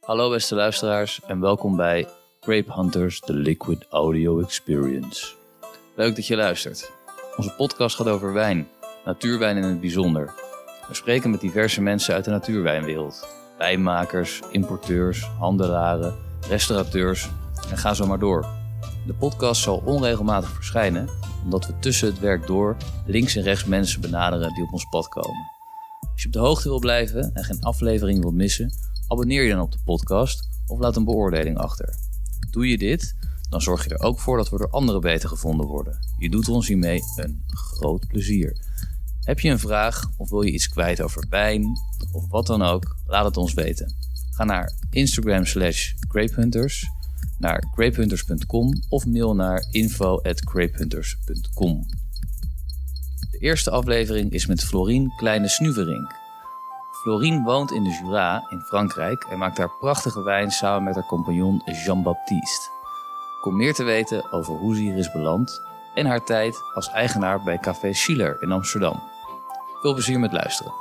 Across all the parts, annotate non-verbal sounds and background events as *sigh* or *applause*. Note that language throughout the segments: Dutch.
Hallo beste luisteraars en welkom bij Grape Hunters The Liquid Audio Experience. Leuk dat je luistert. Onze podcast gaat over wijn, natuurwijn in het bijzonder. We spreken met diverse mensen uit de natuurwijnwereld. Wijnmakers, importeurs, handelaren, restaurateurs en ga zo maar door. De podcast zal onregelmatig verschijnen omdat we tussen het werk door links en rechts mensen benaderen die op ons pad komen. Als je op de hoogte wil blijven en geen aflevering wilt missen, abonneer je dan op de podcast of laat een beoordeling achter. Doe je dit, dan zorg je er ook voor dat we door anderen beter gevonden worden. Je doet ons hiermee een groot plezier. Heb je een vraag of wil je iets kwijt over wijn of wat dan ook, laat het ons weten. Ga naar Instagram slash grapehunters, naar grapehunters.com of mail naar info at grapehunters.com. De eerste aflevering is met Florien Kleine Snuverink. Florien woont in de Jura in Frankrijk en maakt daar prachtige wijn samen met haar compagnon Jean-Baptiste. Kom meer te weten over hoe ze hier is beland en haar tijd als eigenaar bij Café Schiller in Amsterdam. Veel plezier met luisteren.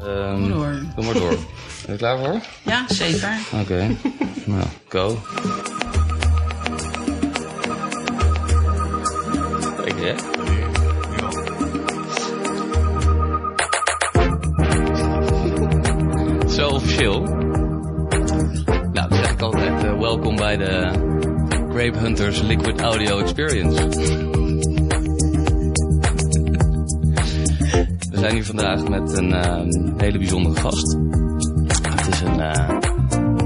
Ehm, Door. Doe maar door. ben je klaar voor? Oh. *laughs* Ja, zeker. Oké. *laughs* nou, go. Kijk hè? Zo officieel. Nou, dan zeg ik altijd eh, welkom bij de Grape Hunters Liquid Audio Experience. We zijn hier vandaag met een ehm, hele bijzondere gast. Het is een, eh,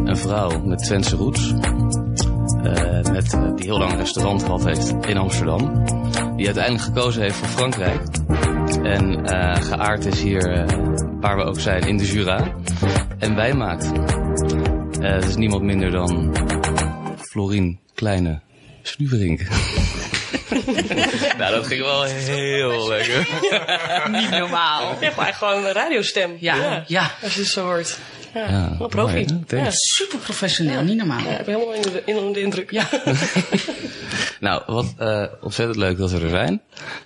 een vrouw met Twentse roots. eh, met, eh, die heel lang een restaurant gehad heeft in Amsterdam. Die uiteindelijk gekozen heeft voor Frankrijk. En eh, geaard is hier, eh, waar we ook zijn, in de Jura. En wij maakt. Eh het is niemand minder dan Florien Kleine Snuverink. *laughs* nou, dat ging wel heel lekker. Niet normaal. Ja, maar gewoon een radiostem. Ja, ja. Als je het zo hoort. Ja, Ja, wat profi. mooi, hè? ja. Thanks. super professioneel, niet Ja, normaal. ik ben helemaal in de, in de indruk. Ja. Nou, wat eh, ontzettend leuk dat we er zijn.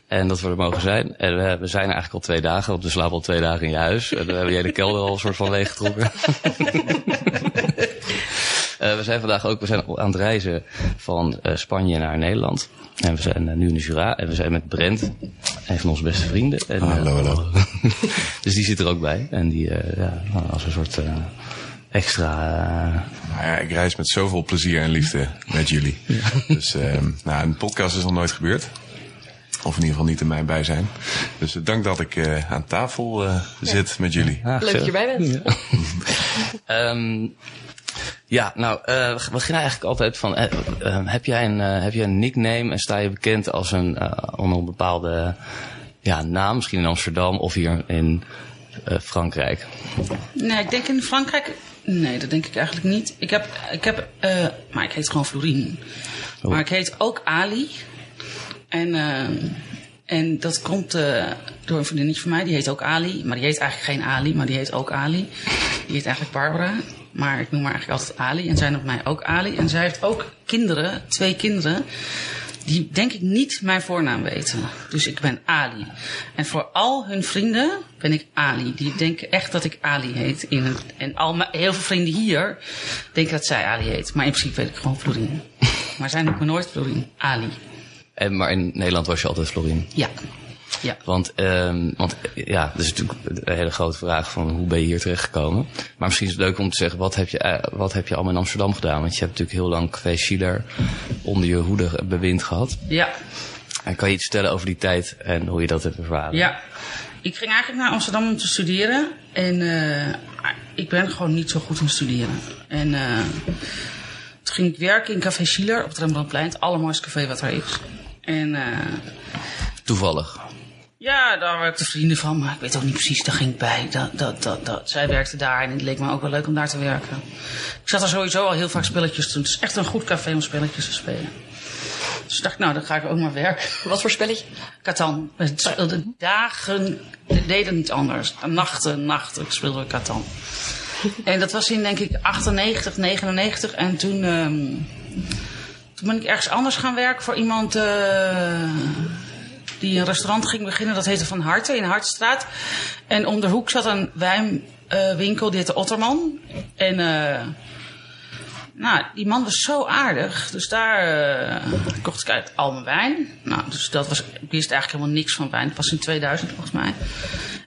En dat we er mogen zijn. En we, we zijn er eigenlijk al twee dagen, want we slapen al twee dagen in je huis. En we hebben je hele kelder al een soort van leeggetrokken. Eh, we zijn vandaag ook we zijn aan het reizen van eh, Spanje naar Nederland. En we zijn eh, nu in de Jura. En we zijn met Brent, een van onze beste vrienden. En, eh, *laughs* Hallo, hallo. dus die zit er ook bij. En die, eh, ja, nou, als een soort eh, extra... eh, Nou ja, ik reis met zoveel plezier en liefde met jullie. Dus ehm, nou, een podcast is nog nooit gebeurd. Of in ieder geval niet in mijn bijzijn. Dus eh, dank dat ik eh, aan tafel eh, zit met jullie. ah, *laughs* Leuk dat je gezellig. erbij bent. Ehm, ja, nou, eh, we beginnen eigenlijk altijd van... eh, eh, heb, jij een, eh, heb jij een nickname en sta je bekend als een, eh, onder een bepaalde ja, naam? Misschien in Amsterdam of hier in eh, Frankrijk. Nee, ik denk in Frankrijk... Nee, dat denk ik eigenlijk niet. Ik heb... Ik heb eh, maar ik heet gewoon Florien. Oh. Maar ik heet ook Ali. En, ehm, en dat komt eh, door een vriendinnetje van mij. Die heet ook Ali. Maar die heet eigenlijk geen Ali, maar die heet ook Ali. Die heet eigenlijk Barbara. Maar ik noem haar eigenlijk altijd Ali. En zij noemt mij ook Ali. En zij heeft ook kinderen, twee kinderen. Die denk ik niet mijn voornaam weten. Dus ik ben Ali. En voor al hun vrienden ben ik Ali. Die denken echt dat ik Ali heet. In het, en al mijn, heel veel vrienden hier denken dat zij Ali heet. Maar in principe weet ik gewoon Florine. Maar zij noemt me nooit Florine. Ali. En, maar in Nederland was je altijd Florien. Ja. Ja. Want, ehm, want eh, ja, dat is natuurlijk een hele grote vraag van hoe ben je hier terechtgekomen. Maar misschien is het leuk om te zeggen, wat heb je, eh, wat heb je allemaal in Amsterdam gedaan? Want je hebt natuurlijk heel lang Café Schiller onder je hoede bewind gehad. Ja. En kan je iets vertellen over die tijd en hoe je dat hebt ervaren? Ja. Ik ging eigenlijk naar Amsterdam om te studeren. En eh, ik ben gewoon niet zo goed in studeren. En eh, toen ging ik werken in Café Schiller op het Rembrandtplein. Het allermooiste café wat er is. En eh, Toevallig. Ja, daar werkten vrienden van, maar ik weet ook niet precies, daar ging ik bij. Dat, dat, dat, dat. Zij werkte daar en het leek me ook wel leuk om daar te werken. Ik zat er sowieso al heel vaak spelletjes te doen. Het is echt een goed café om spelletjes te spelen. Dus ik dacht, nou, dan ga ik ook maar werken. Wat voor spelletje? Catan. We speelden dagen, we deden niet anders. Nachten, nachten speelden we Catan. En dat was in, denk ik, 98, 99. En toen, ehm, toen ben ik ergens anders gaan werken voor iemand eh, die een restaurant ging beginnen. Dat heette Van Harte in Hartstraat. En om de hoek zat een wijnwinkel, die heette Otterman. En eh, nou, die man was zo aardig. Dus daar eh, kocht ik uit al mijn wijn. Nou, dus dat was, ik wist eigenlijk helemaal niks van wijn. Pas in 2000 volgens mij.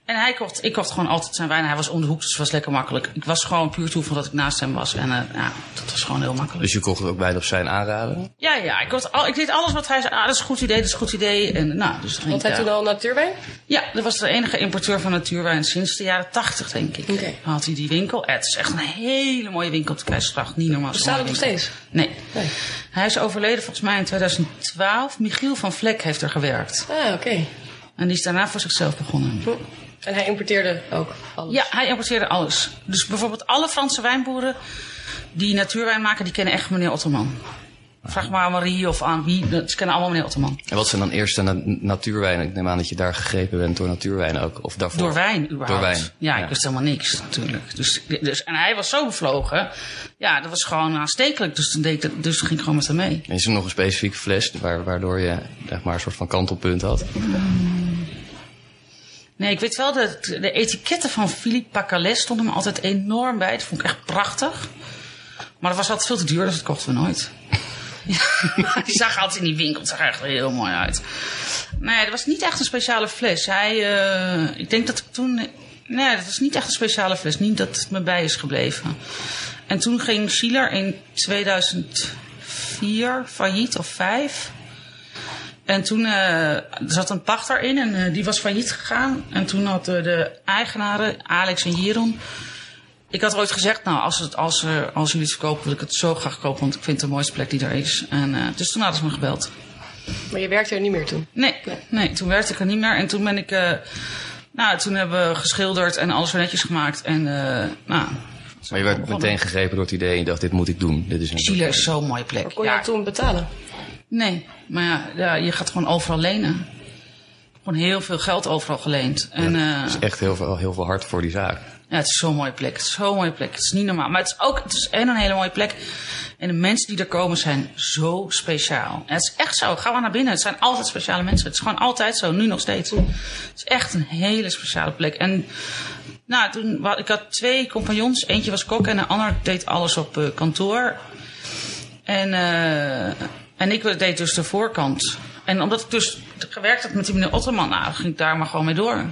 En hij kocht, ik kocht gewoon altijd zijn wijn. Hij was om de hoek, dus het was lekker makkelijk. Ik was gewoon puur toeval dat ik naast hem was. En eh, ja, dat was gewoon heel makkelijk. Dus je kocht het ook bijna op zijn aanraden? Ja, ja, ik, was al, ik deed alles wat hij zei. Ah, dat is een goed idee, dat is een goed idee. En, nou, dus dan ging Want ik hij toen daar- al natuurwijn? Ja, dat was de enige importeur van natuurwijn sinds de jaren tachtig, denk ik. Oké. Had hij die winkel. Eh, Het is echt een hele mooie winkel op de Keizersgracht. Niet normaal. Bestaat het nog Mooie steeds? winkel. Nee. Hij is overleden volgens mij in 2012. Michiel van Vlek heeft er gewerkt. Ah, oké. En die is daarna voor zichzelf begonnen. Hm. En hij importeerde ook alles? Ja, hij importeerde alles. Dus bijvoorbeeld alle Franse wijnboeren die natuurwijn maken, die kennen echt meneer Otterman. Vraag maar aan Marie of aan wie. Ze kennen allemaal meneer Otterman. En wat zijn dan eerste na- natuurwijnen? Ik neem aan dat je daar gegrepen bent door natuurwijn ook. Of daarvoor. Door wijn, überhaupt. Door wijn, Ja, ja. ik wist helemaal niks, natuurlijk. Dus, dus, en hij was zo bevlogen. Ja, dat was gewoon aanstekelijk. Dus, toen deed ik, dat- dus toen ging ik gewoon met hem mee. En is er nog een specifieke fles waar- waardoor je zeg maar, een soort van kantelpunt had? Nee, ik weet wel dat de etiketten van Philippe Pacalet stonden me altijd enorm bij. Dat vond ik echt prachtig. Maar dat was altijd veel te duur, dus dat kochten we nooit. *laughs* Ja, die zag altijd in die winkel, het zag er echt heel mooi uit. Nee, dat was niet echt een speciale fles. Hij, eh, ik denk dat ik toen... Nee, dat was niet echt een speciale fles. Niet dat het me bij is gebleven. En toen ging Schiller in 2004 failliet of 5. En toen eh, er zat een pachter in en eh, die was failliet gegaan. En toen hadden de eigenaren, Alex en Jeroen... Ik had ooit gezegd, nou, als, het, als, eh, als jullie het verkopen, wil ik het zo graag kopen. Want ik vind het de mooiste plek die er is. En, eh, dus toen hadden ze me gebeld. Maar je werkte er niet meer toen? Nee, nee, toen werkte ik er niet meer. En toen ben ik... eh, nou, toen hebben we geschilderd en alles weer netjes gemaakt. En, eh nou, Maar je werd meteen gegrepen door het idee en je dacht, dit moet ik doen. Dit is een... Chile is zo'n mooie plek. Maar kon je Ja, dat toen betalen? Nee, maar ja, ja, je gaat gewoon overal lenen. Gewoon heel veel geld overal geleend. En, eh, Het is echt heel veel, heel veel hard voor die zaak. Ja, het is zo'n mooie plek. Het is zo'n mooie plek. Het is niet normaal. Maar het is ook het is en een hele mooie plek. En de mensen die er komen zijn zo speciaal. En het is echt zo. Ga maar naar binnen. Het zijn altijd speciale mensen. Het is gewoon altijd zo. Nu nog steeds. Het is echt een hele speciale plek. En nou, toen, wa- ik had twee compagnons. Eentje was kok en de ander deed alles op eh, kantoor. En, eh, en ik deed dus de voorkant. En omdat ik dus gewerkt had met die meneer Otterman, nou, ging ik daar maar gewoon mee door.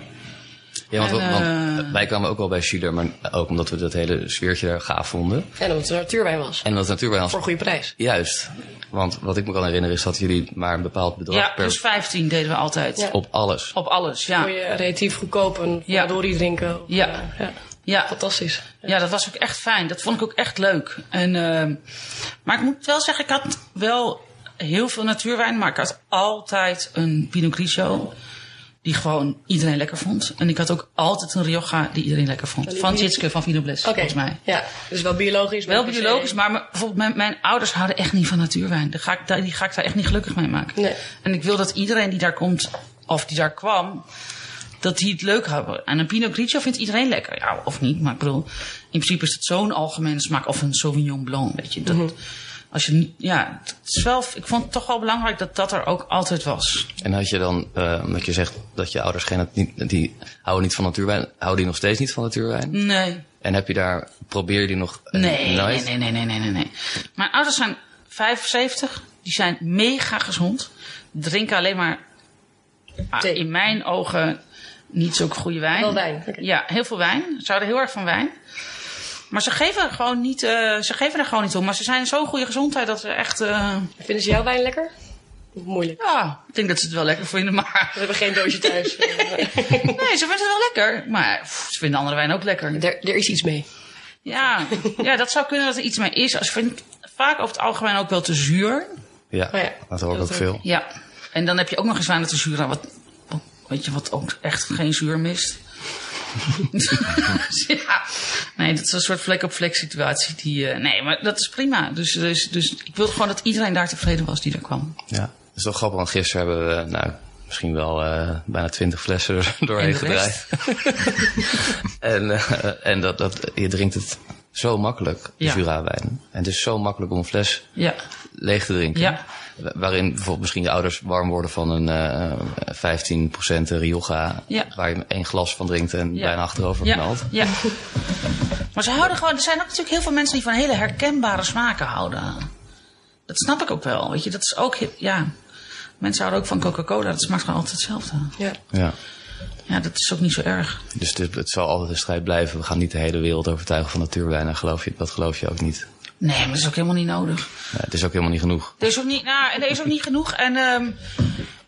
Ja, want, En, eh, want wij kwamen ook wel bij Schiller, maar ook omdat we dat hele sfeertje daar gaaf vonden. En omdat het natuurwijn was. En dat natuurlijk bij Voor ons... een goede prijs. Juist. Want wat ik me kan herinneren is dat jullie maar een bepaald bedrag Ja, dus- per... plus 15 deden we altijd. Ja. op alles. Op alles, Kon ja. je relatief goedkoop een Ja. Dory drinken. Of, Ja. eh, ja. Ja, Fantastisch. ja, dat was ook echt fijn. Dat vond ik ook echt leuk. En, ehm, maar ik moet wel zeggen, ik had wel heel veel natuurwijn. Maar ik had altijd een Pinot Grigio. Die gewoon iedereen lekker vond. En ik had ook altijd een Rioja die iedereen lekker vond. Van Tjitske van Vino Bles, Oké. volgens mij. Ja, dus wel biologisch. maar Wel niet per biologisch, se- maar mijn- bijvoorbeeld mijn, mijn ouders houden echt niet van natuurwijn. Daar ga ik, daar- die ga ik daar echt niet gelukkig mee maken. Nee. En ik wil dat iedereen die daar komt, of die daar kwam, dat die het leuk hebben. En een Pinot Grigio vindt iedereen lekker. Ja, of niet, maar ik bedoel, in principe is het zo'n algemene smaak. Of een Sauvignon Blanc, weet je. Mhm. Dat, Als je, niet- ja, het is wel, ik vond het toch wel belangrijk dat dat er ook altijd was. En had je dan, eh, omdat je zegt dat je ouders geen, niet, die houden niet van natuurwijn, houden die nog steeds niet van natuurwijn? Nee, En heb je daar, probeer je die nog eh, Mm. Nee, nee, nooit? nee, nee, nee, nee, nee, nee. Mijn ouders zijn 75. Die zijn mega gezond. Drinken alleen maar, ah, Thee. in mijn ogen, niet zulke goede wijn. Wel wijn, oké. Ja, heel veel wijn. Ze houden heel erg van wijn. Maar ze geven er gewoon niet, eh, ze geven er gewoon niet om. Maar ze zijn in zo'n goede gezondheid dat ze echt, eh, Vinden ze jouw wijn lekker? Moeilijk. ja, ik denk dat ze het wel lekker vinden. Maar *laughs* We hebben geen doosje *laughs* thuis. nee, ze vinden het wel lekker. Maar eh, pff, ze vinden andere wijn ook lekker. er, er is iets mee. Ja, ja, dat zou kunnen dat er iets mee is. Als vind ik vaak over het algemeen ook wel te zuur. Ja, Oh ja, dat hoor ik ook dat veel. Ja, en dan heb je ook nog eens wijn dat de zuur aan wat, wat- weet je, wat ook echt geen zuur *laughs* mist. Dus ja, nee, dat is een soort vlek op vlek situatie. Die, eh, nee, maar dat is prima. Dus, dus, dus ik wilde gewoon dat iedereen daar tevreden was die er kwam. Ja. Dat is wel grappig, want gisteren hebben we, nou, misschien wel eh, bijna twintig flessen er *laughs* doorheen En de gedraaid. rest? *laughs* en eh, en dat, dat, je drinkt het zo makkelijk, de Ja. Jura-wijn. En het is zo makkelijk om een fles Ja, leeg te drinken. ja. wa- waarin bijvoorbeeld misschien je ouders warm worden van een eh 15% Rioja. Ja. Waar je één glas van drinkt en Ja. bijna achterover Ja, knalt. ja. Maar ze houden gewoon, er zijn ook natuurlijk heel veel mensen die van hele herkenbare smaken houden. Dat snap ik ook wel. Weet je, dat is ook, heel- ja. Mensen houden ook van Coca-Cola, dat smaakt gewoon altijd hetzelfde. Ja. Ja. Ja, dat is ook niet zo erg. Dus het, het zal altijd een strijd blijven. We gaan niet de hele wereld overtuigen van natuurwijn. En geloof je, dat geloof je ook niet. Nee, maar dat is ook helemaal niet nodig. Ja, het is ook helemaal niet genoeg. Er is ook niet, nou, en er is ook niet genoeg. En ehm,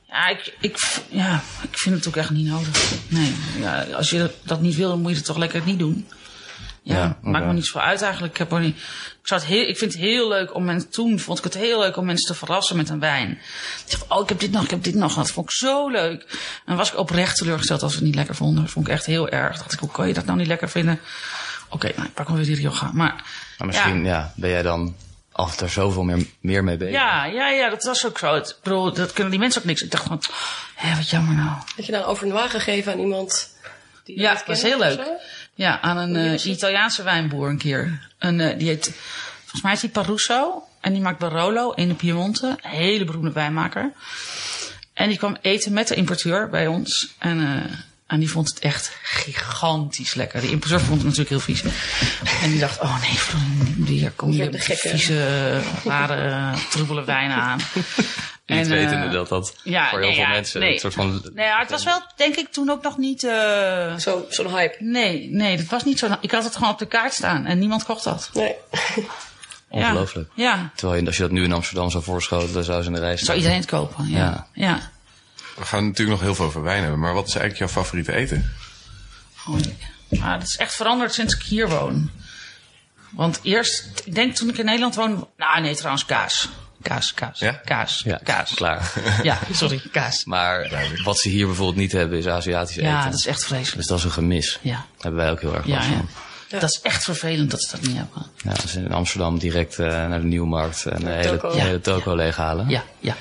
ja, ik, ik, v- ja, ik vind het ook echt niet nodig. Nee, ja, als je dat, dat niet wil, dan moet je het toch lekker niet doen. Ja, Ja, maakt oké. me niet zoveel uit eigenlijk. Ik, heb er niet, ik, zou het heel, ik vind het heel leuk om mensen... Toen vond ik het heel leuk om mensen te verrassen met een wijn. Ik dacht, oh, ik heb dit nog, ik heb dit nog. Dat vond ik zo leuk. En dan was ik oprecht teleurgesteld als ze het niet lekker vonden. Dat vond ik echt heel erg. Dacht ik, hoe kan je dat nou niet lekker vinden? Oké, nou, ik pak maar weer die Rioja. Maar, Maar misschien ja. ben jij dan altijd er zoveel meer, meer mee bezig. ja, ja, ja, dat was ook zo. Het, ik bedoel, dat kunnen die mensen ook niks. Ik dacht van, hè, wat jammer nou. Dat je dan overnois gegeven aan iemand die je Ja, niet dat was kent heel of leuk. zo? Ja, aan een eh, Italiaanse wijnboer een keer. Een, eh, die heet, volgens mij is die Paruso. En die maakt Barolo in de Piemonte. Een hele beroemde wijnmaker. En die kwam eten met de importeur bij ons. En, eh, en die vond het echt gigantisch lekker. Die importeur vond het natuurlijk heel vies. En die dacht, oh nee, Vroom, hier kom je Ja, de met die gekke. vieze, rare, troebele wijnen *laughs* aan. Niet En, wetende eh, dat dat ja, voor heel nee, veel ja, mensen nee. een soort van... Nee, ja, het was wel, denk ik, toen ook nog niet... eh, Zo- Zo'n hype. Nee, nee, dat was niet zo. Ik had het gewoon op de kaart staan en niemand kocht dat. Nee. Ja. Ongelooflijk. Ja, Terwijl je, als je dat nu in Amsterdam zou voorschoten, dan zou ze in de rij staan. zou iedereen het kopen. Ja. Ja. ja. We gaan natuurlijk nog heel veel over wijn hebben, maar wat is eigenlijk jouw favoriete eten? Oh, nee. Maar dat is echt veranderd sinds ik hier woon. Want eerst, ik denk toen ik in Nederland woonde. Nou, nee, trouwens, kaas. Kaas, kaas, Ja? kaas, Ja, kaas. klaar. *laughs* Ja, sorry, kaas. Maar wat ze hier bijvoorbeeld niet hebben, is Aziatisch Ja, eten. dat is echt vreselijk. Dus dat is een gemis. Ja. Daar hebben wij ook heel erg Ja, last ja. van. Dat is echt vervelend dat ze dat niet hebben. Ja, dus in Amsterdam direct eh, naar de Nieuwmarkt en de hele, toko. de hele toko leeghalen. Ja, ja.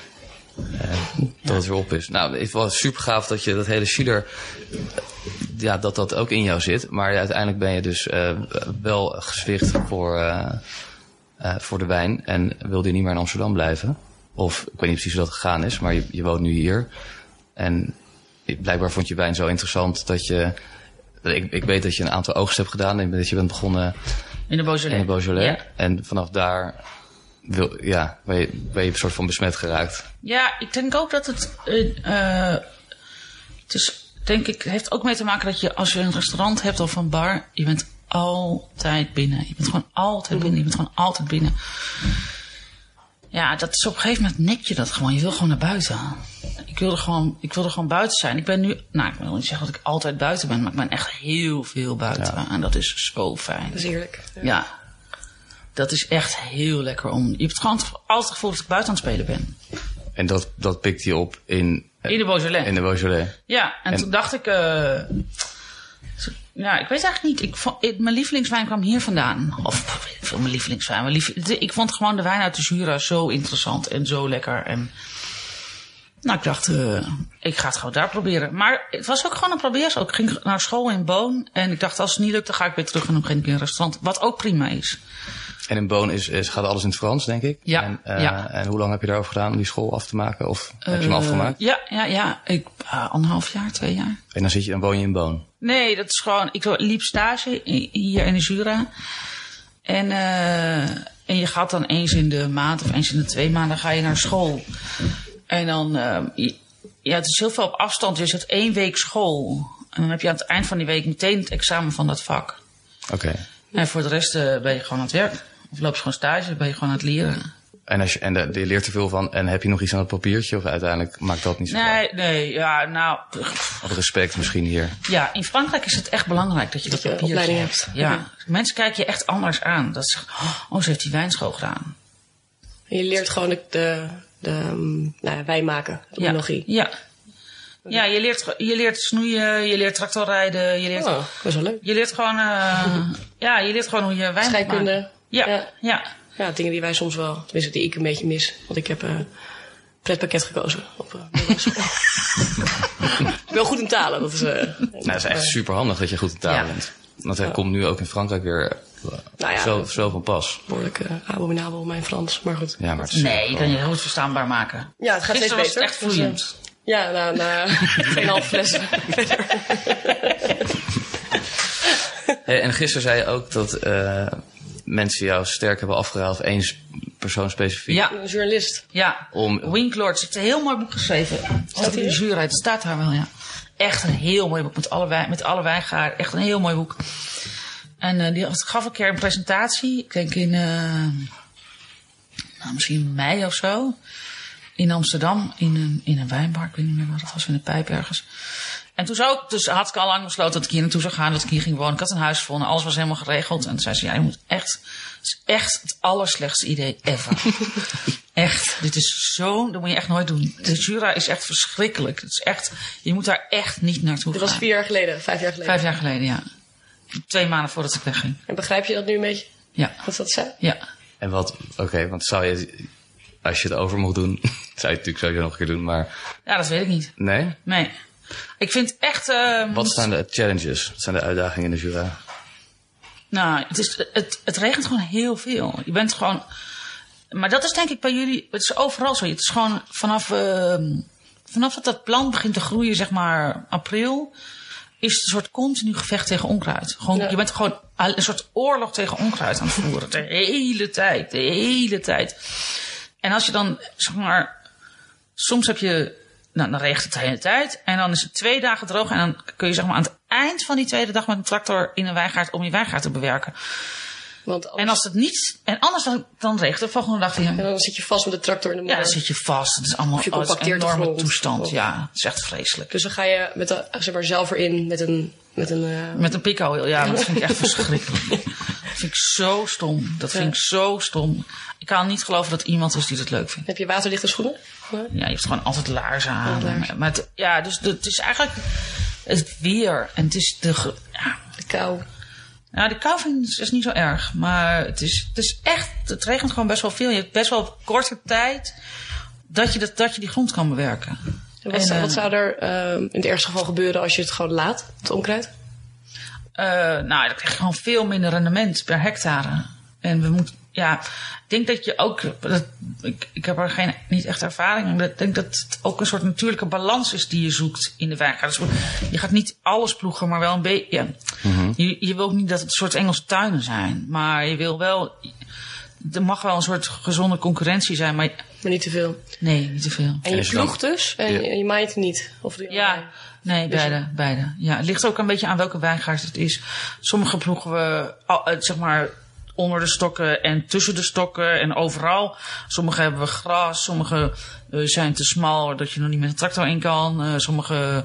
Dat het weer op is. Nou, het was super gaaf dat je dat hele Schiller. Ja, dat dat ook in jou zit. Maar ja, uiteindelijk ben je dus eh, wel gezwicht voor, eh, eh, voor de wijn. En wilde je niet meer in Amsterdam blijven. Of ik weet niet precies hoe dat gegaan is, maar je, je woont nu hier. En blijkbaar vond je wijn zo interessant dat je. Ik, ik weet dat je een aantal oogsten hebt gedaan. En dat je bent begonnen In de in Beaujolais. de Beaujolais. Ja. En vanaf daar wil, ja, ben, je, ben je een soort van besmet geraakt. Ja, ik denk ook dat het. eh, eh, het is, denk ik, heeft ook mee te maken dat je als je een restaurant hebt of een bar, je bent altijd binnen. Je bent gewoon altijd binnen. Je bent gewoon altijd binnen. Ja, dat is op een gegeven moment nek je dat gewoon. Je wil gewoon naar buiten. Ik wilde gewoon, ik wilde gewoon buiten zijn. Ik ben nu, nou, ik wil niet zeggen dat ik altijd buiten ben, maar ik ben echt heel veel buiten. En *laughs* dat is zo fijn. Dat is heerlijk. Ja. Ja. Dat is echt heel lekker om. Je hebt gewoon altijd het gevoel dat ik buiten aan het spelen ben. En dat, dat pikt hij op in, In de Beaujolais. in de Beaujolais. Ja, en, En- toen dacht ik. eh, zo- ja, ik weet eigenlijk niet. Ik vond, ik- mijn lievelingswijn kwam hier vandaan. Of pff, weet ik veel, mijn lievelingswijn. Mijn lief- de- ik vond gewoon de wijn uit de Jura zo interessant en zo lekker. En, nou, ik dacht, eh, ik ga het gewoon daar proberen. Maar het was ook gewoon een probeersel. Ik ging naar school in Boon. En ik dacht, als het niet lukt, dan ga ik weer terug en dan begin ik in een restaurant. Wat ook prima is. En in Boon is, is, gaat alles in het Frans, denk ik. Ja, En, eh, ja. en hoe lang heb je daarover gedaan om die school af te maken? Of heb je hem Eh, afgemaakt? Ja, ja, ja. Ik, eh, anderhalf jaar, twee jaar. En dan, zit je, dan woon je in Boon. Nee, dat is gewoon. Ik liep stage i- hier in de Jura. En, eh, en je gaat dan eens in de maand of eens in de twee maanden ga je naar school. En dan. eh, je- ja, het is heel veel op afstand. Je zit één week school. En dan heb je aan het eind van die week meteen het examen van dat vak. Oké. En voor de rest eh, ben je gewoon aan het werk. Of loop je gewoon stage, ben je gewoon aan het leren. En, als je, en de- je leert er veel van. En heb je nog iets aan het papiertje? Of uiteindelijk maakt dat niet zo uit? Nee, nee, ja, nou. pff, Of respect misschien hier. Nou, Ja, in Frankrijk is het echt belangrijk dat je dat, je papier opleiding hebt. hebt. Ja. Mensen kijken je echt anders aan. Dat ze zeggen, oh, ze heeft die wijnschool gedaan. En je leert gewoon de, de, de ehm, nou ja, wijn maken. De Ja. technologie. Ja. Ja, je leert, ge- je leert snoeien, je leert tractorrijden, je leert, Oh, dat is wel leuk. je leert gewoon, *laughs* eh, ja, je leert gewoon hoe je wijn moet Scheikunde. maken. Ja, ja, Ja. ja, Ja, dingen die wij soms wel, tenminste die ik een beetje mis. Want ik heb eh pretpakket gekozen *laughs* op eh, middelbare school. ik ben wel goed in talen, dat is... eh, Nou, dat is echt super handig dat je goed in taal Ja. bent. Want hij Ja. komt nu ook in Frankrijk weer eh, Nou ja. zo, zo van pas. Behoorlijk eh, abominabel, mijn Frans. Maar goed. Ja, maar het is Nee, je kan je goed verstaanbaar maken. Ja, het gaat Gisteren was steeds het beter. echt Dus, eh, vloeiend. Ja, na, na 2,5 flessen verder. Hey, en gisteren zei je ook dat eh, mensen jou sterk hebben afgeraden, of één s- persoon specifiek. Ja, Een journalist. ja. Om- Winklord heeft een heel mooi boek geschreven. Staat die de er? jury uit? Staat daar wel, ja. Echt een heel mooi boek. Met alle, wij- met alle wijngaarden. Echt een heel mooi boek. En eh, die gaf een keer een presentatie. Ik denk in... eh, nou, misschien mei of zo. In Amsterdam, in een, in een wijnbar. Ik weet niet meer waar dat was, in de pijp ergens. En toen zou ik, dus had ik al lang besloten dat ik hier naartoe zou gaan, dat ik hier ging wonen. Ik had een huis gevonden, alles was helemaal geregeld. En toen zei ze, ja, je moet echt, het is echt het allerslechtste idee ever. *laughs* echt, dit is zo, dat moet je echt nooit doen. De Jura is echt verschrikkelijk. Het is echt, je moet daar echt niet naartoe Dit gaan. was vier jaar geleden, vijf jaar geleden. Vijf jaar geleden, ja. Twee maanden voordat ik wegging. En begrijp je dat nu een beetje? Ja, Wat dat zei? ja. En wat, oké, want zou je, als je het over mocht doen, *laughs* zou je het natuurlijk sowieso nog een keer doen, maar Ja, dat weet ik niet. nee. Nee. Ik vind echt... ehm, Wat zijn de challenges? Wat zijn de uitdagingen in de Jura? Nou, het, is, het, het regent gewoon heel veel. Je bent gewoon. Maar dat is denk ik bij jullie. Het is overal zo. Het is gewoon vanaf. ehm, vanaf dat dat plant begint te groeien, zeg maar april. Is het een soort continu gevecht tegen onkruid. Gewoon, Ja. Je bent gewoon al- een soort oorlog tegen onkruid aan het voeren. De hele tijd. De hele tijd. En als je dan, zeg maar. Soms heb je. Nou, dan regent het de hele tijd. En dan is het twee dagen droog. En dan kun je zeg maar aan het eind van die tweede dag met een tractor in een wijngaard om je wijngaard te bewerken. Want anders, En als het niet, en anders dan, dan regent het volgende dag en weer. dan zit je vast met de tractor in de Ja, modder. dan zit je vast. Het is allemaal je oh, het is een compacteert de enorme grond. Oh. toestand. Of- Ja, het is echt vreselijk. Dus dan ga je met de, zeg maar, zelf erin met een... Met een eh, Met een pikhoil, ja, dat vind ik *laughs* echt verschrikkelijk. Dat vind ik zo stom. Dat vind ik zo stom. Ik kan niet geloven dat iemand is die dat leuk vindt. heb je waterdichte schoenen? Ja. Ja, je hebt gewoon altijd laarzen aan. Altijd laarzen. Maar het, ja, dus de- het is eigenlijk het weer. En het is de. ge- Ja, De kou. Nou, de kou vind ik- is niet zo erg. Maar het is, het is echt, het regent gewoon best wel veel. Je hebt best wel op korte tijd dat je, dat, dat je die grond kan bewerken. En wat, En, eh, wat zou er ehm, in het ergste geval gebeuren als je het gewoon laat, het onkruid? Eh, nou, dan krijg je gewoon veel minder rendement per hectare. En we moeten, ja, ik denk dat je ook, dat, ik, ik heb er geen, niet echt ervaring in, maar ik denk dat het ook een soort natuurlijke balans is die je zoekt in de wijngaard. Dus je gaat niet alles ploegen, maar wel een beetje. ja. Je, je wil ook niet dat het een soort Engelse tuinen zijn, maar je wil wel, er mag wel een soort gezonde concurrentie zijn, maar Maar niet te veel. nee, niet te veel. En En je is het dan- ploegt dus en Ja. je- je maait niet. Of doe je Ja, allebei? nee, beide, beide. Ja, het ligt ook een beetje aan welke wijngaard het is. Sommige ploegen we, al- eh, zeg maar, onder de stokken en tussen de stokken en overal. Sommige hebben we gras, sommige eh, zijn te smal dat je nog niet met een tractor in kan. Eh, sommige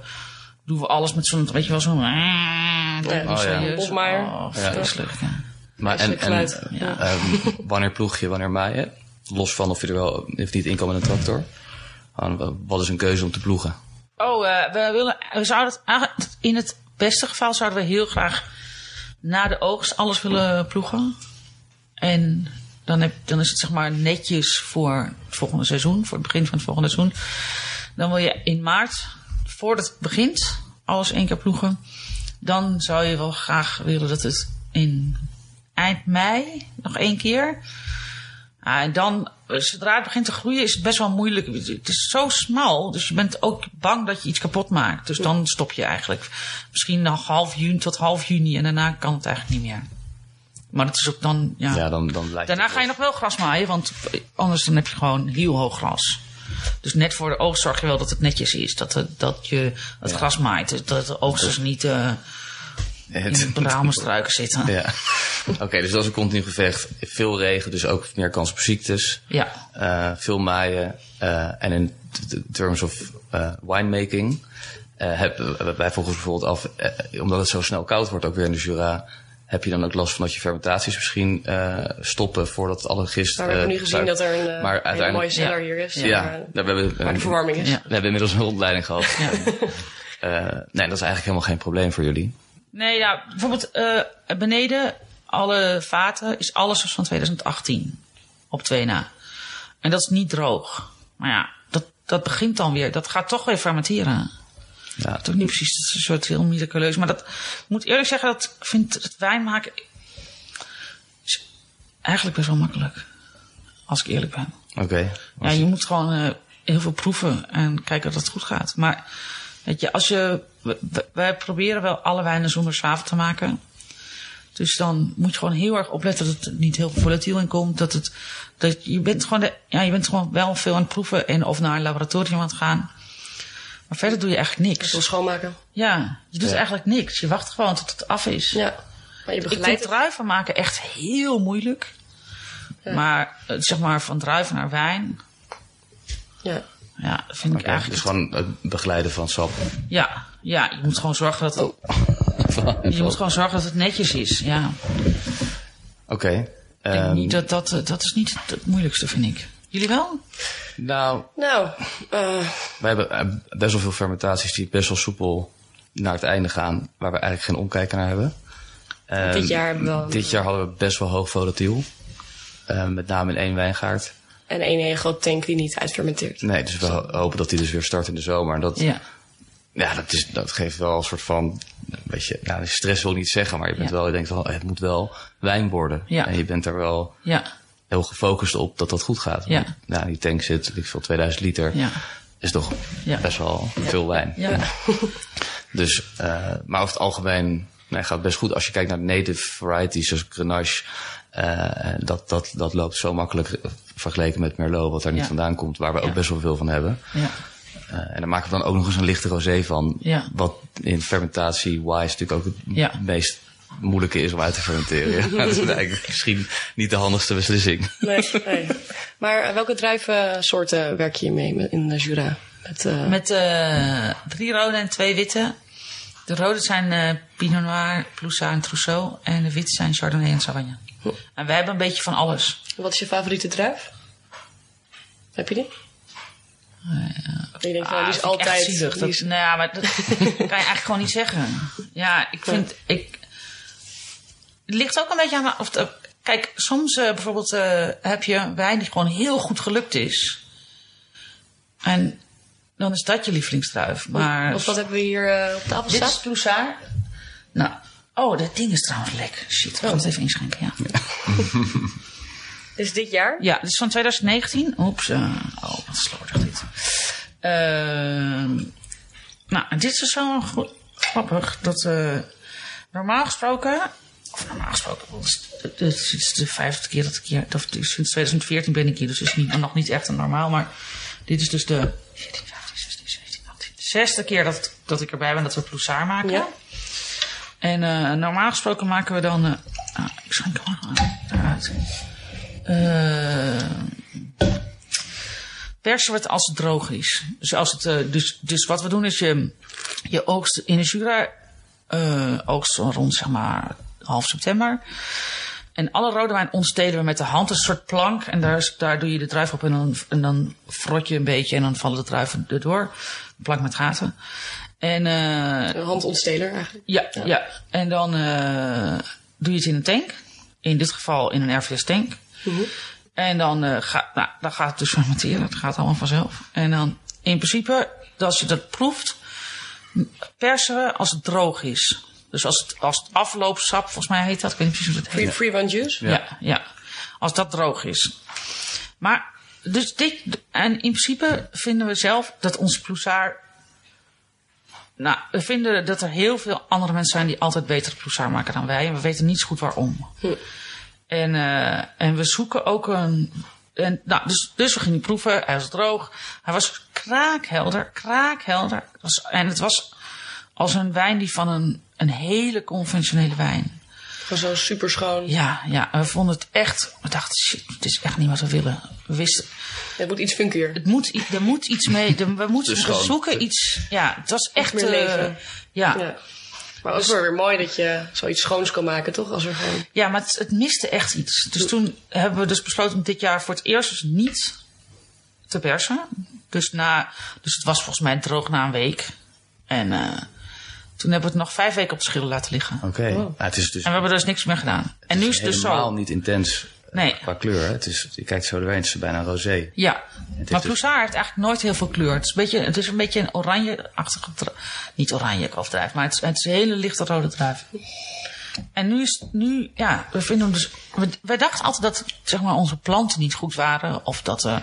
doen we alles met zo'n, weet je wel, zo'n... Ja. Oh, ja. serieus. Bob Maier. Oh, vreselijk, ja. Maar Vreselijk geluid, ja. ehm, *laughs* wanneer ploeg je, wanneer maaien? Los van of je er wel of niet in kan met een tractor. Gewoon, Wat is een keuze om te ploegen? Oh, eh, we, willen, we zouden het eigenlijk- in het beste geval zouden we heel graag na de oogst alles willen ploegen. En dan, heb, dan is het zeg maar netjes voor het volgende seizoen, voor het begin van het volgende seizoen. Dan wil je in maart, voordat het begint, alles één keer ploegen. Dan zou je wel graag willen dat het in eind mei nog één keer. Ah, en dan, eh, zodra het begint te groeien, is het best wel moeilijk. Het is zo smal, dus je bent ook bang dat je iets kapot maakt. Dus dan stop je eigenlijk. Misschien nog half juni tot half juni en daarna kan het eigenlijk niet meer. Maar dat is ook dan, ja. Ja, dan, dan lijkt Daarna het ga je nog wel gras maaien, want anders dan heb je gewoon heel hoog gras. Dus net voor de oogst zorg je wel dat het netjes is. Dat, het- dat je het gras maait. Dus Dat de oogsters niet eh, in Het- de bramenstruiken zitten. Ja. *laughs* Ja. Oké, dus dat is een continu gevecht. Veel regen, dus ook meer kans op ziektes. Eh, veel maaien. eh, en in t- t- terms of eh, winemaking eh, heb- hebben wij volgens bijvoorbeeld af, eh, omdat het zo snel koud wordt ook weer in de Jura, heb je dan ook last van dat je fermentaties misschien eh, stoppen voordat alle gist. Maar Nou, we hebben eh, nu gezien daar- dat er een, eh, maar hele mooie uiteindelijk, cellar Ja. hier is. ja, Maar, daar hebben we, waar de verwarming is. Ja. we hebben inmiddels een rondleiding gehad. *laughs* Eh, nee, dat is eigenlijk helemaal geen probleem voor jullie. Nee, ja, bijvoorbeeld eh, beneden alle vaten is alles was van 2018 op 2 na. En dat is niet droog. Maar ja, dat, dat begint dan weer. Dat gaat toch weer fermenteren. Ja, Toch niet precies, dat is een soort heel miraculeus. Maar dat ik moet eerlijk zeggen, dat vindt het wijn maken is eigenlijk best wel makkelijk. Als ik eerlijk ben. Oké. Ja, je moet gewoon eh, heel veel proeven en kijken dat het goed gaat. Maar weet je, als je. w- w- Wij proberen wel alle wijnen zonder zwavel te maken. Dus dan moet je gewoon heel erg opletten dat het niet heel volatiel in komt. Dat het, dat je, bent gewoon de, ja, je bent gewoon wel veel aan het proeven en of naar een laboratorium aan het gaan. Maar verder doe je eigenlijk Veel niks. schoonmaken. Ja, je doet eigenlijk niks. Je wacht gewoon tot het af is. Ja. Maar je Ik vind begeleidt het. druiven maken echt heel moeilijk. Maar eh, zeg maar van druiven naar wijn, Ja. ja, dat vind ik Ja, dus eigenlijk. gewoon het begeleiden van sap. Ja, ja, je moet gewoon zorgen dat Oh, het, je moet Oké. gewoon zorgen dat het netjes is. Ja. Ik denk ehm, niet dat, dat, eh, dat is niet het moeilijkste, vind ik. Jullie wel? nou, Nou, eh, wij hebben eh, best wel veel fermentaties die best wel soepel naar het einde gaan. Waar we eigenlijk geen omkijken naar hebben. Ehm, dit jaar hebben we wel. Dit jaar hadden we best wel hoog volatiel. Eh, met name in één wijngaard. En één hele grote tank die niet uitfermenteert. Nee, dus we ho- hopen dat die dus weer start in de zomer. En dat, ja. Ja. dat, is, dat geeft wel een soort van... Weet je, nou, stress wil ik niet zeggen, maar je, bent Ja. wel, je denkt wel, het moet wel wijn worden. Ja. En je bent er wel Ja. heel gefocust op dat dat goed gaat. Ja. Want, Nou, die tank zit, weet ik veel, 2000 liter. Ja. Is toch Ja. best wel veel wijn. Ja. *laughs* Dus, eh, maar over het algemeen nee, gaat het best goed. Als je kijkt naar native varieties, zoals Grenache, eh, dat, dat, dat loopt zo makkelijk eh, vergeleken met Merlot, wat daar niet Ja. vandaan komt, waar we Ja. ook best wel veel van hebben. Ja. Eh, en daar maken we dan ook nog eens een lichte rosé van, Ja. wat in fermentatie-wise natuurlijk ook het Ja. meest moeilijke is om uit te *laughs* fermenteren. dat is eigenlijk misschien niet de handigste beslissing. Nee, *laughs* nee. Maar eh, welke druivensoorten werk je mee met- in de Jura? Met, eh, Met eh, drie rode en twee witte. De rode zijn eh, Pinot Noir, Ploussa en Trousseau. En de witte zijn Chardonnay en Sauvignon. Oh. En wij hebben een beetje van alles. Wat is je favoriete druif? Heb je die? Ik denk van, Ah, die is dat vind ik echt altijd... zielig. die Dat, is- Nou ja, maar *laughs* dat kan je eigenlijk gewoon niet zeggen. Ja, ik vind... Ik, het ligt ook een beetje aan... Of, de- kijk, soms eh, bijvoorbeeld eh, heb je wijn die gewoon heel goed gelukt is. En dan is dat je lievelingsdruif. Maar Of wat hebben we hier eh, op Dit tafel is staan? Ploussard. Nou, oh, dat ding is trouwens lek. Shit, we gaan het even inschenken, Oh. ja. Is dit jaar? Ja, dit is van 2019. Oeps, eh, oh, wat slordig dit. Ehm, nou, en dit is zo goed, grappig dat eh, normaal gesproken... Of normaal gesproken, want het is- het is de vijfde keer dat ik hier... Of, het is sinds 2014 ben ik hier, dus het is niet, nog niet echt een normaal. Maar dit is dus de 14, 15, 16, 17, 18, zesde keer dat, dat ik erbij ben dat we Ploussaar maken. Ja. En eh, normaal gesproken maken we dan. eh, ah, ik schenk hem gewoon aan- eruit. Eh, persen we het als het droog is. Dus, als het, eh, dus, dus wat we doen is je, je oogst in de Jura. eh, oogst zo rond zeg maar half september. En alle rode wijn ontstelen we met de hand. Een soort plank. En daar, is- daar doe je de druif op. En dan, en dan frot je een beetje. En dan vallen de druiven erdoor. Een plank met gaten. En eh, Een handontsteler eigenlijk. ja, ja. En dan eh, doe je het in een tank. In dit geval in een RVS-tank. En dan, eh gaat, nou, dan gaat het dus fermenteren. Het gaat allemaal vanzelf. En dan in principe, als je dat proeft, persen we als het droog is. Dus als het, als het afloopsap, volgens mij heet dat. Ik weet niet precies hoe dat heet. Free, free run juice? Ja. ja, Als dat droog is. Maar, dus dit, en in principe vinden we zelf dat onze ploesaar. Nou, we vinden dat er heel veel andere mensen zijn die altijd betere ploesaar maken dan wij. En we weten niet zo goed waarom. En, eh, en we zoeken ook een. En, nou, dus, dus we gingen die proeven. Hij was droog. Hij was kraakhelder, kraakhelder. Het was- en het was als een wijn die van een, een hele conventionele wijn. Gewoon zo super schoon. Ja, ja, we vonden het echt. We dachten, shit, dit is echt niet wat we willen. We wisten, Het moet iets funkier. het moet, i- er moet iets mee. er- we moeten Dus we gewoon- zoeken iets. Ja, het was echt. meer eh, leven. ja. ja. Ja. Maar ook wel weer mooi dat je zoiets schoons kan maken, toch? Als er gewoon... maar het, het miste echt iets. Dus toen hebben we dus besloten om dit jaar voor het eerst dus niet te persen. Dus, na, dus het was volgens mij droog na een week. En eh, toen hebben we het nog vijf weken op de schil laten liggen. Oké. het is dus En we hebben er dus niks meer gedaan. En nu is het dus helemaal zo. niet intens eh, Nee. Qua kleur, hè. Het is, je kijkt zo doorheen, het is bijna rosé. Ja, is maar dus- Ploussaar heeft eigenlijk nooit heel veel kleur. Het is een beetje, het is een, beetje een oranje-achtige dru- Niet oranje kalfdruif, maar het is, het is een hele lichte rode druif. En nu is nu, ja, we vinden hem dus. we- Wij dachten altijd dat zeg maar, onze planten niet goed waren. Of dat eh, eh,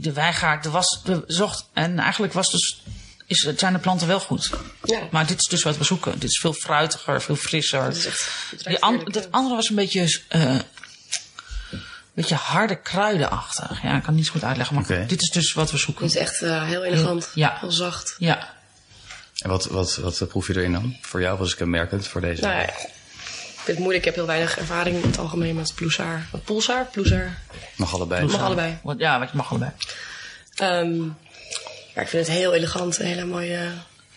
de weigaard, de was, de zocht. En eigenlijk was dus, is, zijn de planten wel goed. Ja. Maar dit is dus wat we zoeken. Dit is veel fruitiger, veel frisser. is echt- het ruikt Die an- heerlijk, dat ja. andere was een beetje. eh, beetje harde kruidenachtig. Ja, ik kan het niet goed uitleggen, maar Oké. dit is dus wat we Het zoeken. is echt eh, heel elegant. Ja. Heel zacht. Ja. En wat, wat, wat eh, proef je erin dan? Voor jou was ik kenmerkend voor deze. Nou ja, ik vind het moeilijk. Ik heb heel weinig ervaring in het algemeen met ploesaar. Pulsaar? Ploesaar? Nog allebei. Mag allebei. Want- Ja, wat je mag allebei. Ehm, maar ik vind het heel elegant. Hele mooie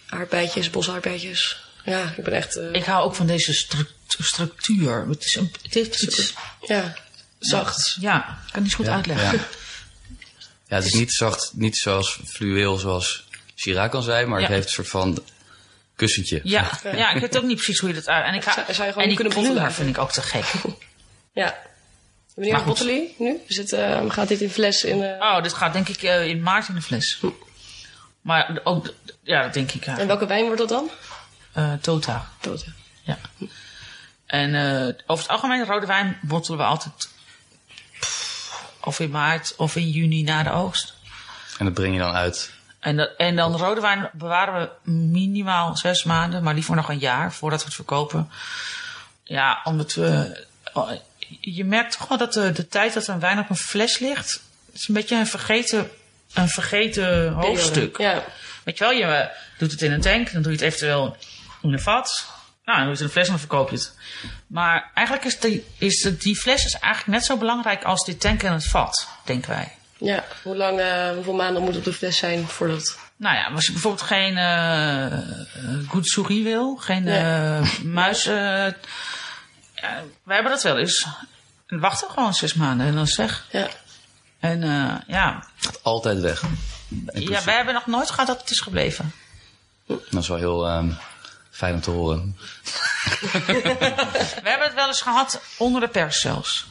aardbeidjes, bosaardbeidjes. Ja, ik ben echt... eh, Ik hou ook van deze stru- structuur. Het is een, het heeft iets. ja, zacht. Ja, ik kan het niet goed uitleggen. Ja. Ja, het is niet zacht, niet zoals fluweel zoals Chirac kan zijn, maar het Ja. heeft een soort van kussentje. Ja, ja. ik weet ook niet precies hoe je dat uit. En, ik ga, Zou- zou je gewoon en die kunnen botten kleur laten? vind ik ook te gek. Ja. Wanneer goed. bottelen jullie nu? We zitten, eh, gaat dit in fles in... eh, Oh, dit gaat denk ik eh, in maart in de fles. Maar ook, ja, dat denk ik. Ja. Hm. En welke wijn wordt dat dan? Eh, tota. Tote. Ja. En eh, over het algemeen rode wijn bottelen we altijd. pff, of in maart of in juni na de oogst. En dat breng je dan uit. En, dat- en dan rode wijn bewaren we minimaal zes maanden, maar liever nog een jaar voordat we het verkopen. Ja, omdat we. oh, Je merkt toch wel dat de, de tijd dat een wijn op een fles ligt. is een beetje een vergeten, een vergeten hoofdstuk. Ja. Weet je wel, je eh, doet het in een tank, dan doe je het eventueel in een vat. Nou, dan doe je het in een fles en dan verkoop je het. Maar eigenlijk is die, is het- die fles is eigenlijk net zo belangrijk als die tank en het vat, denken wij. Ja. Hoe lang, eh, hoeveel maanden moet het op de fles zijn voordat... Nou ja, als je bijvoorbeeld geen eh goetsuri wil, geen Nee. eh, muis. eh, eh, wij hebben dat wel eens. En wacht dan gewoon zes maanden en dan zeg. Ja. En eh, ja. Gaat altijd weg. En ja, wij hebben nog nooit gehad dat het is gebleven. Dat is wel heel ehm, fijn om te horen. We hebben het wel eens gehad onder de pers zelfs.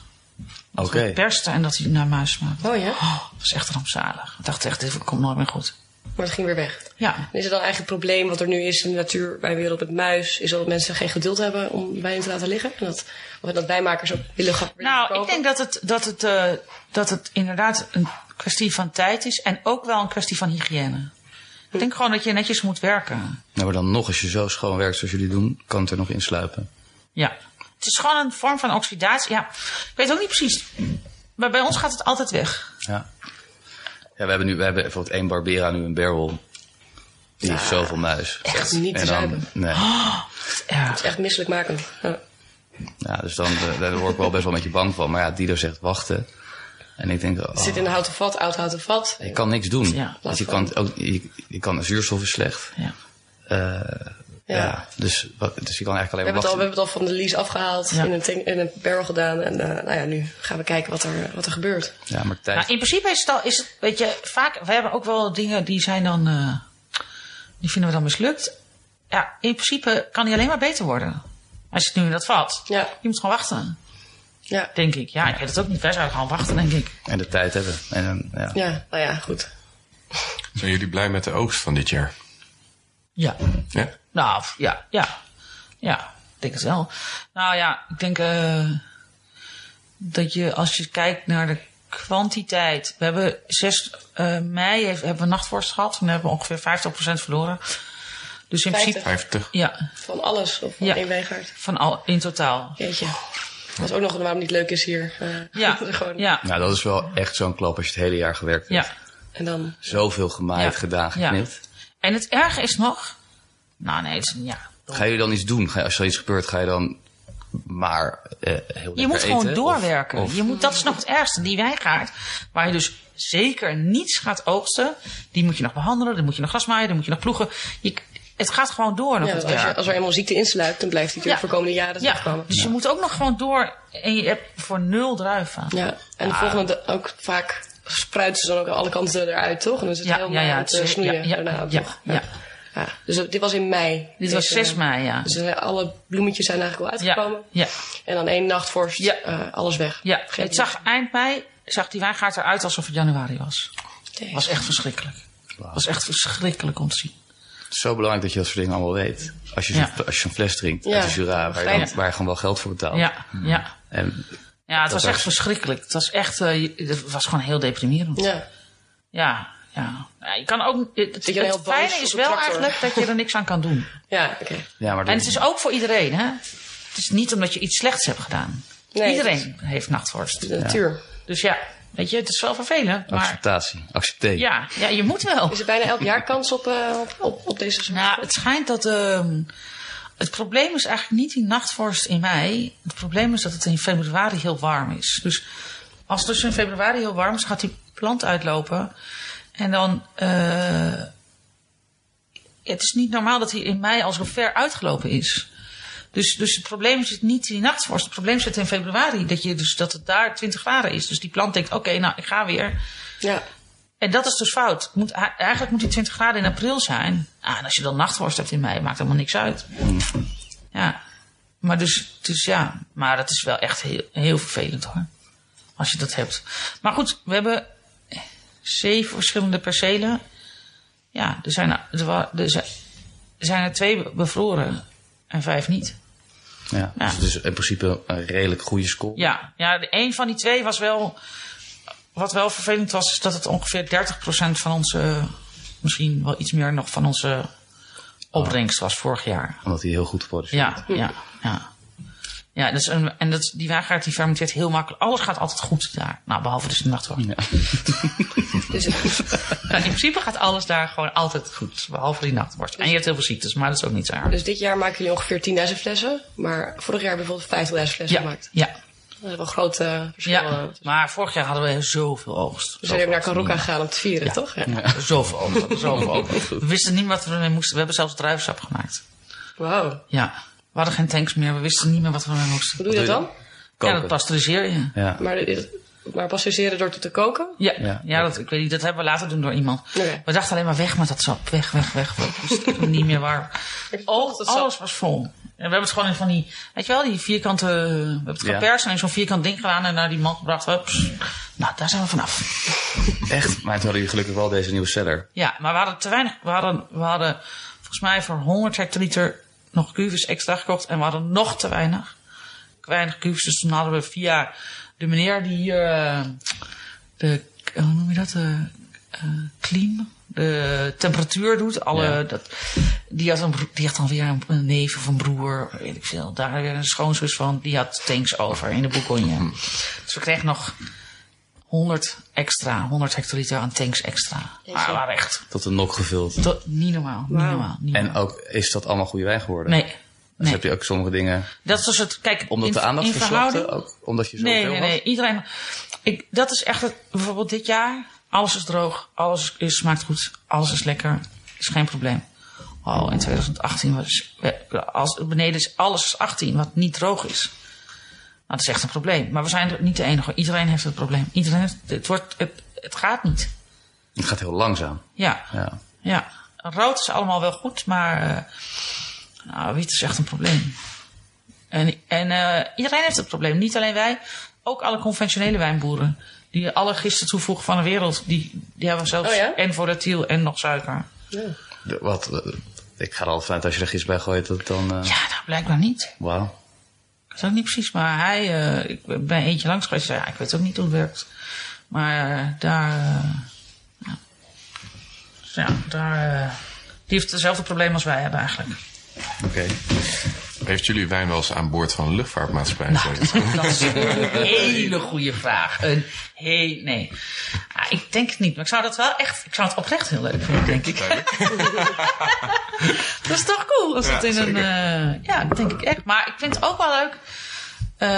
Oké. Okay. Perste en dat hij naar muis smaakt. Oh ja? Oh, dat is echt rampzalig. Ik dacht echt, dit komt nooit meer goed. Maar het ging weer weg. Ja. En is het dan eigenlijk het probleem wat er nu is in de natuur bij wereld met muis? Is dat mensen geen geduld hebben om wijn te laten liggen? En dat, of dat wijnmakers ook willen gaan Nou, ik denk dat het, dat, het, eh, dat het inderdaad een kwestie van tijd is. En ook wel een kwestie van hygiëne. Ik denk gewoon dat je netjes moet werken. Nou, maar dan nog, als je zo schoon werkt zoals jullie doen, kan het er nog insluipen. Ja. Het is gewoon een vorm van oxidatie. Ja, ik weet ook niet precies. Maar bij ons gaat het altijd weg. Ja. Ja, we hebben nu, we hebben bijvoorbeeld één Barbera nu een barrel. Die heeft zoveel muis. Echt niet te en dan, zuipen. *gasps* nee. Ja. Het is echt misselijkmakend. Ja. Ja, dus dan, eh, daar word ik wel best wel een beetje bang van. Maar ja, Dido zegt wachten. En ik denk, oh, Het zit in een houten vat, oud houten vat. je kan niks doen. Ja. Want je kan, ook, je, je kan, zuurstof is slecht. ja. Eh, ja. Ja. dus, wat, dus je kan eigenlijk alleen We hebben, maar het al, we wachten. hebben het al van de lease afgehaald, Ja. in, een tank- in een barrel gedaan. En eh, nou ja, nu gaan we kijken wat er, wat er gebeurt. Ja, maar tijd. Nou, in principe is het, al, is het, weet je, vaak, we hebben ook wel dingen die zijn dan, eh, die vinden we dan mislukt. Ja, in principe kan die alleen maar beter worden. Als je het nu in dat vat. Ja. Je moet gewoon wachten, Ja, denk ik. Ja, ik weet het ook niet. Wij zouden gewoon wachten, denk ik. En de tijd hebben. En, dan, ja. ja nou ja, goed. Zijn jullie blij met de oogst van dit jaar? Ja. Ja? Nou, f- ja, ja. Ja, ik denk het wel. Nou ja, ik denk eh, dat je als je kijkt naar de kwantiteit. We hebben 6 eh, mei heeft, hebben we nachtvorst gehad. Toen hebben we ongeveer 50% verloren. Dus in 50. principe, 50. ja, Van alles, of van Ja. één wijngaard. van al, in totaal. Jeetje. Dat is ook nog waarom het niet leuk is hier. Eh, Ja, *laughs* gewoon. ja, Nou, dat is wel echt zo'n klap als je het hele jaar gewerkt hebt. ja. En dan, Zoveel gemaaid, Ja. gedaan, Ja. geknipt. En het erge is nog. Nou nee, het is, ja. Ga jullie dan iets doen? Ga, je- als er iets gebeurt, ga je dan maar eh, heel lekker Je moet gewoon eten? doorwerken. Of- of- je moet, dat is nog het ergste. Die wijngaard, waar je dus zeker niets gaat oogsten, die moet je nog behandelen, die moet je nog grasmaaien, die moet je nog ploegen. Je, het gaat gewoon door nog ja, het want als, je, werk. als er eenmaal ziekte insluipt, dan blijft die natuurlijk voor komende jaren ja, terugkomen. dus je moet ook nog gewoon door en je hebt voor nul druiven. Ja, en de volgende da- ook vaak spruiten ze dan ook aan alle kanten eruit, toch? En dan is het Ja, helemaal ja, ja, aan het het eh, is- snoeien ja, ja, daarna ook ja, nog. ja. Ja, dus dat- dit was in mei. Dit was 6 mei, ja. Dus eh, alle bloemetjes zijn eigenlijk wel Ja, uitgekomen. ja, En dan één nachtvorst, Ja. eh, alles weg. ja. Geen Het zag eind mei, zag die wijngaard eruit alsof het januari was. bloem. was echt verschrikkelijk. was echt verschrikkelijk om te zien. Het is zo belangrijk dat je dat soort dingen allemaal weet. Als je zo'n Ja. als je zo'n fles drinkt Ja. uit de Jura, waar je, Ja. dan, waar je gewoon wel geld voor betaalt. Ja, ja. En Ja, het Oh. Hmm. Dat was echt was- verschrikkelijk. Het was echt, eh, je- het was gewoon heel deprimerend. Ja, Ja, ja. Ja, je kan ook, het, je het heel boos fijne op is de wel tractor. eigenlijk dat je er niks aan kan doen. ja oké. Ja, maar En dat, het is ook voor iedereen, hè? Het is niet omdat je iets slechts hebt gedaan. Nee, iedereen heeft nachtvorst. De natuur. Dus ja, weet je, het is wel vervelend, maar acceptatie, accepteer. ja, ja, je moet wel. Is er bijna elk jaar kans op, eh, op, op, op deze soort? Nou, het schijnt dat. ehm, het probleem is eigenlijk niet die nachtvorst in mei. Het probleem is dat het in februari heel warm is. Dus als het dus in februari heel warm is, gaat die plant uitlopen. En dan. eh, het is niet normaal dat hij in mei al zo ver uitgelopen is. Dus, dus het probleem zit niet in die nachtvorst. Het probleem zit in februari. Dat, je dus, dat het daar 20 graden is. Dus die plant denkt: oké, nou, ik ga weer. Ja, En dat is dus fout. Moet, eigenlijk moet die 20 graden in april zijn. Ah, en als je dan nachtworst hebt in mei, maakt helemaal niks uit. Ja. Maar dus, dus ja, maar dat is wel echt heel, heel vervelend hoor. Als je dat hebt. Maar goed, we hebben zeven verschillende percelen. Ja, er zijn er, er, wa- er zijn- er zijn er twee bevroren en vijf niet. Ja. Ja. Dus het is in principe een redelijk goede score. Ja, ja de, een van die twee was wel. Wat wel vervelend was, is dat het ongeveer 30% van onze. Misschien wel iets meer nog van onze opbrengst was vorig jaar. Omdat hij heel goed geproduceerd Ja, ja, ja. Ja, dus een, en dat, die wagengaard die fermenteert heel makkelijk. Alles gaat altijd goed daar. Nou, behalve dus de nachtwacht. dus, Nou, in principe gaat alles daar gewoon altijd goed. Behalve die nachtworst. En je hebt heel veel ziektes, maar dat is ook niet zo erg. dus dit jaar maken jullie ongeveer 10.000 flessen. Maar vorig jaar hebben we bijvoorbeeld 50.000 flessen Ja, gemaakt. ja, Dat is wel een groot eh, verschil. Dus- eh. Dus ja. Maar vorig jaar hadden we zoveel oogst. we zijn even naar Carocca gegaan om te vieren, toch? Ja. Zoveel over, zoveel over. We wisten niet wat we ermee moesten. We hebben zelfs druivensap gemaakt. Wauw. Ja. We hadden geen tanks meer. We wisten niet meer wat we ermee moesten. Hoe doe je dat dan? Ja, dat pasteuriseer je. Ja. Maar, dit- maar pasteuriseren door te te koken? Ja, ja. dat, ik weet niet, dat hebben we laten doen door iemand. Oké. We dachten alleen maar weg met dat sap. Weg, weg, weg. We wisten niet meer waar. Al- dat sap. Alles was vol. En we hebben het gewoon in van die, weet je wel, die vierkante, we hebben het Ja. geperst en in zo'n vierkant ding gedaan en naar die man gebracht. Hups. Nou, daar zijn we vanaf. Echt? Maar toen hadden jullie gelukkig wel deze nieuwe seller. Ja, maar we hadden te weinig. We hadden, we hadden volgens mij voor 100 hectoliter nog cuves extra gekocht. En we hadden nog te weinig. Weinig cuves. Dus toen hadden we via de meneer die hier. eh, de, hoe noem je dat? De eh clean. De temperatuur doet. Alle, Ja. dat, die, had een, bro- die had dan weer een, een neef of een broer. Weet ik veel. Daar weer een schoonzus van. Die had tanks over in de Bourgogne. Dus we kregen nog 100 extra. 100 hectoliter aan tanks extra. Maar we waren echt Tot een nok gevuld. dat, niet normaal. Niet normaal. Niet En normaal. ook is dat allemaal goede wijn geworden. Nee. Dus nee. heb je ook sommige dingen. Dat was het. Kijk, Omdat in, de aandacht eh, in verslapte verhouding. ook. Omdat je zoveel Nee, nee, nee. Iedereen. Ik, dat is echt. Het, bijvoorbeeld dit jaar. Alles is droog. Alles is, smaakt goed. Alles is lekker. Is geen probleem. Oh, in 2018 was. eh, Als, beneden is alles is 18 wat niet droog is. Nou, dat is echt een probleem. Maar we zijn er niet de enige. Iedereen heeft het probleem. Iedereen heeft, het, wordt, het, het gaat niet. had. Het gaat heel langzaam. Ja. Ja. Ja, rood is allemaal wel goed, maar eh, nou, wit is echt een probleem. En, en eh, iedereen heeft het probleem, niet alleen wij, ook alle conventionele wijnboeren. Die alle gisten toevoegen van de wereld, die, die hebben zelfs Oh ja? en volatiel en nog suiker. De- wat, eh, ik ga er al vanuit als je er gist bij gooit, dat dan. eh, Ja, nou blijkbaar niet. Wauw. Ik weet ook niet precies, maar hij, eh, ik ben eentje langs geweest, ja, ik weet ook niet hoe het werkt. Maar eh, daar, eh, Dus ja. ja, daar, eh, die heeft hetzelfde probleem als wij hebben eigenlijk. Oké. Heeft jullie wijn wel eens aan boord van een luchtvaartmaatschappij Nou, gezeten? Dat is een *laughs* hele goede vraag. Een heel, nee. Ah, ik denk het niet, maar ik zou dat wel echt, ik zou het oprecht heel leuk vinden, denk ik. *laughs* dat is toch cool als Ja, dat in een, zeker. eh, ja, dat denk ik echt. Maar ik vind het ook wel leuk. eh,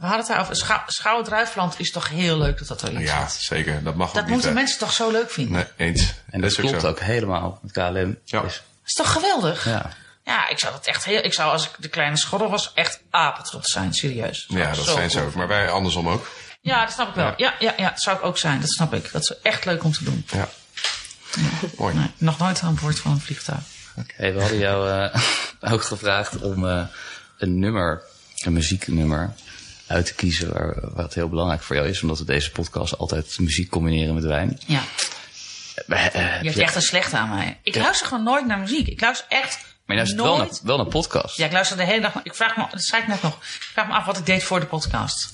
we hadden het daarover, Schou Schouwen-Druifland is toch heel leuk dat dat er is. ja, zeker. Dat mag Dat ook niet. moeten hè. mensen toch zo leuk vinden. Nee, eens. En dat, is ook klopt zo. ook helemaal. Het KLM. Ja. is- Dat is toch geweldig? ja. Ja, ik zou dat echt heel, ik zou als ik de kleine schorrel was, echt apetrots zijn, serieus. Ja, dat Zo zijn ze cool. ook. Maar wij andersom ook. Ja, dat snap ik wel. Ja, ja, ja, dat zou ik ook zijn. Dat snap ik. Dat is echt leuk om te doen. Ja. Mooi. Nee, nog nooit aan boord van een vliegtuig. Hey, we hadden jou eh, *laughs* ook gevraagd om eh, een nummer, een muzieknummer, uit te kiezen waar, wat heel belangrijk voor jou is. Omdat we deze podcast altijd muziek combineren met wijn. Ja. Eh, eh, Je hebt ja. echt een slechte aan mij. Ik luister gewoon nooit naar muziek. Ik luister echt Maar je luistert wel nooit. naar, wel naar podcast. Ja, ik luister de hele dag. Ik vraag me, dat zei ik net nog. Ik vraag me af wat ik deed voor de podcast.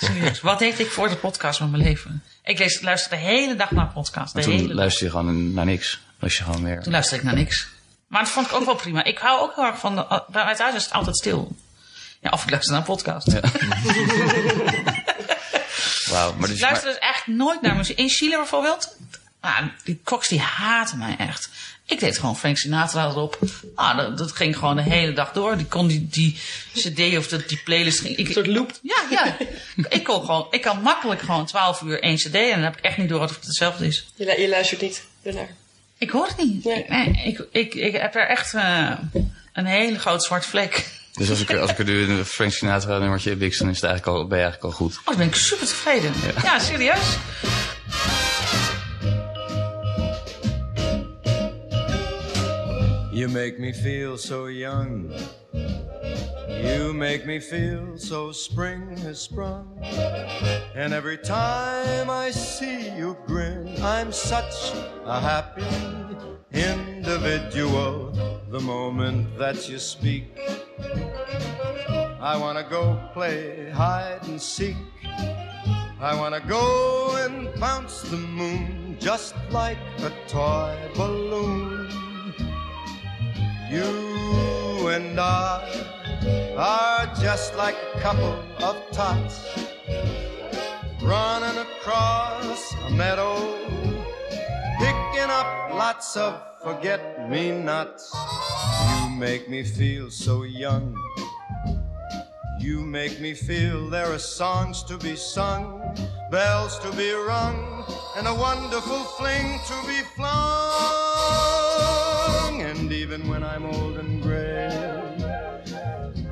Serieus, wat deed ik voor de podcast met mijn leven? Ik lees, luister de hele dag naar podcast. De Toen hele dag. luister je gewoon naar niks. Luister je gewoon weer. Toen luister ik naar niks. Maar dat vond ik ook wel prima. Ik hou ook heel erg van... De, vanuit huis is het altijd stil. Ja, of ik luister naar een podcast. Wauw. Maar, dus, ik luister dus eigenlijk nooit naar muziek. In Chile bijvoorbeeld. Nou, die koks die haten mij echt. Ik deed gewoon Frank Sinatra erop. Nou, dat, dat ging gewoon de hele dag door. Die kon die, die cd of dat, die playlist... Ging, ik, soort loop. Ja, ja. *laughs* ik, kon gewoon, ik kan makkelijk gewoon 12 uur één cd en dan heb ik echt niet door of het hetzelfde is. Je, lu- je luistert niet ernaar. Ik hoor het niet. Nee. Nee, ik, ik, ik heb er echt eh, een hele grote zwarte vlek. maar- dus als ik, als ik er nu een Frank Sinatra nummertje heb, dan is het eigenlijk al, ben je eigenlijk al goed. Oh, dan ben ik super tevreden. Ja, serieus. You make me feel so young. You make me feel so spring has sprung. And every time I see you grin, I'm such a happy individual. The moment that you speak, I wanna go play hide and seek. I wanna go and bounce the moon just like a toy balloon. You and I are just like a couple of tots running across a meadow, picking up lots of forget me nots. You make me feel so young. You make me feel there are songs to be sung, bells to be rung, and a wonderful fling to be flung. And even when I'm old and gray,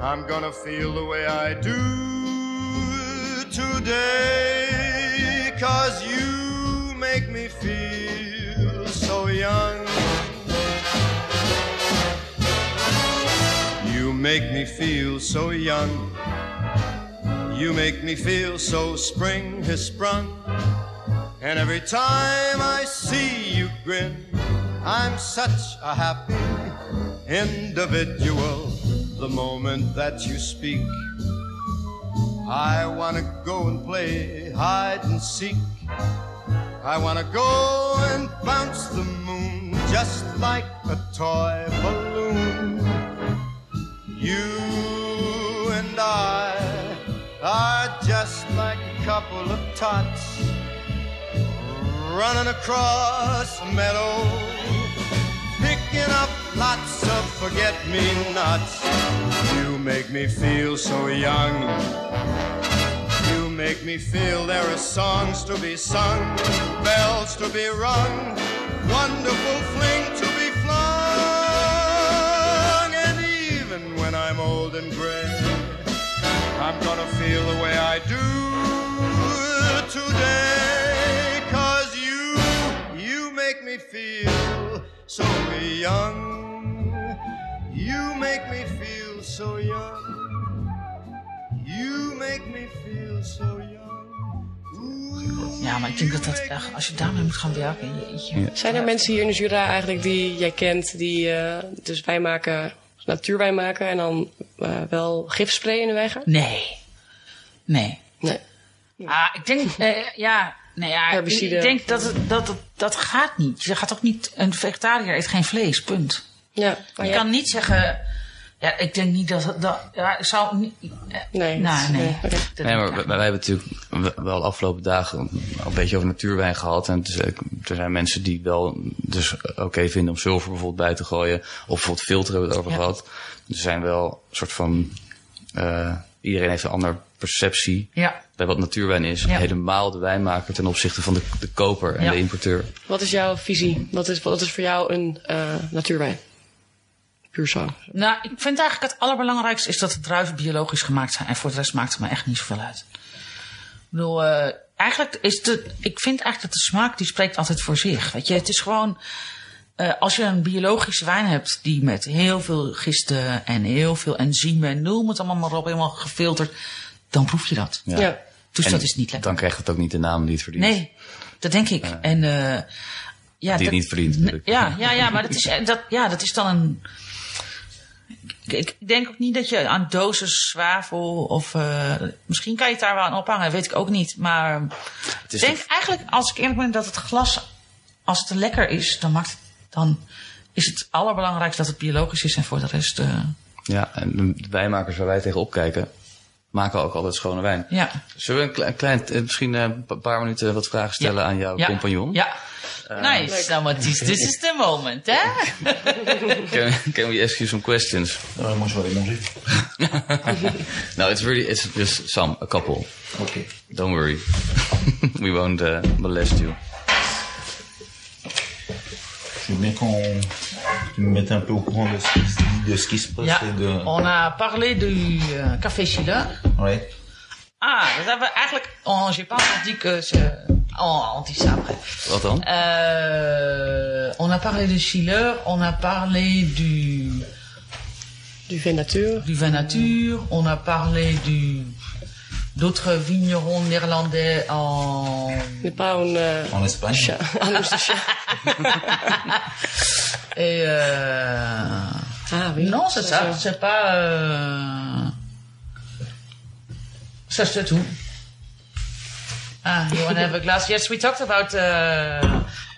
I'm gonna feel the way I do today, cause you make me feel so young. You make me feel so young. You make me feel so spring has sprung. And every time I see you grin, I'm such a happy individual. The moment that you speak, I wanna go and play hide and seek. I wanna go and bounce the moon just like a toy balloon. You and I are just like a couple of tots running across a meadow, picking up lots of forget me nots. You make me feel so young. You make me feel there are songs to be sung, bells to be rung, wonderful fling to be flung. And even when I'm old and gray, I'm gonna feel the way I do today. Cause you, you make me feel so young. You make me feel so young. You make me feel so young. Ooh, Ja, maar ik denk dat dat echt, als je daarmee moet gaan werken. jeetje. Zijn er mensen hier in de Jura eigenlijk die jij kent, die eh, dus wijn maken, natuurwijn maken en dan eh, wel gifspray in de wijn gaan? Nee. Nee. Nee. Ah, ik *laughs* denk, eh, ja. Nee, ja, ik- Herbicide. ik denk dat, het, dat, het, dat gaat niet. Je gaat toch niet, een vegetariër eet geen vlees, punt. Ja, maar Je ja. kan niet zeggen, ja, ik denk niet dat, dat ja, ik zou niet, eh, Nee, nou, dat- nee. nee, oké. Dat- Nee, maar wij, wij hebben natuurlijk w- wel de afgelopen dagen al een beetje over natuurwijn gehad. En het is, eh, er zijn mensen die wel dus oké vinden om zilver bijvoorbeeld bij te gooien. Of bijvoorbeeld filter hebben we het over Ja. gehad. Er zijn wel een soort van... eh, iedereen heeft een andere perceptie Ja. bij wat natuurwijn is. Ja. Helemaal de wijnmaker ten opzichte van de, de koper en Ja. de importeur. Wat is jouw visie? Wat is, wat is voor jou een eh, natuurwijn? Puur zo. Nou, ik vind eigenlijk het allerbelangrijkste is dat de druiven biologisch gemaakt zijn. En voor de rest maakt het me echt niet zoveel uit. Ik bedoel, eh, eigenlijk is de, ik vind eigenlijk dat de smaak die spreekt altijd voor zich. Weet je, het is gewoon, eh, als je een biologische wijn hebt die met heel veel gisten en heel veel enzymen en noem het allemaal maar op, helemaal gefilterd, dan proef je dat. Ja. ja. Dus En dat is niet lekker. Dan krijgt het ook niet de naam die het verdient. Nee, dat denk ik. en, eh, ja, Die het niet verdient, natuurlijk. Ja, ja, ja, maar dat is, eh, dat, ja, dat is dan een... Ik, ik denk ook niet dat je aan dosis zwavel of... eh, misschien kan je het daar wel aan ophangen, weet ik ook niet. Maar ik is denk eigenlijk, als ik eerlijk ben, dat het glas... Als het te lekker is, dan, maakt het, dan is het allerbelangrijkste dat het biologisch is. En voor de rest... eh, Ja, en de wijnmakers waar wij tegen opkijken, maken ook altijd schone wijn. ja. Zullen we een klein, klein eh, misschien eh, een pa- paar minuten wat vragen stellen aan jouw ja. compagnon? Eh, Ja. nice, nou Mathies, this is the moment, hè? *laughs* Can, can we ask you some questions? Uh, moi, j'aurais mangé. *laughs* No, it's really, it's just some, a couple. Ok. Don't worry. *laughs* We won't eh, molest you. Je veux bien qu'on que tu me mettes un peu au courant de ce qui se dit, de ce qui se passe Ja, et de. on a parlé du eh, café Chila. Ouais. Ah, dat hebben we eigenlijk. Oh, j'ai pas dit que ze. Oh, on dit ça après. Wat dan? Euh, on a parlé de Schiller, on a parlé du, Du vin nature. du vin nature, on a parlé du d'autres vignerons néerlandais en. N'est pas un euh, *laughs* En Espagne. chat. Ah, non, c'est chat. Et euh, Ah oui. non, c'est ça, c'est pas. Euh... Ça c'est tout. Ah, you wanna have a glass? Yes, we talked about. euh,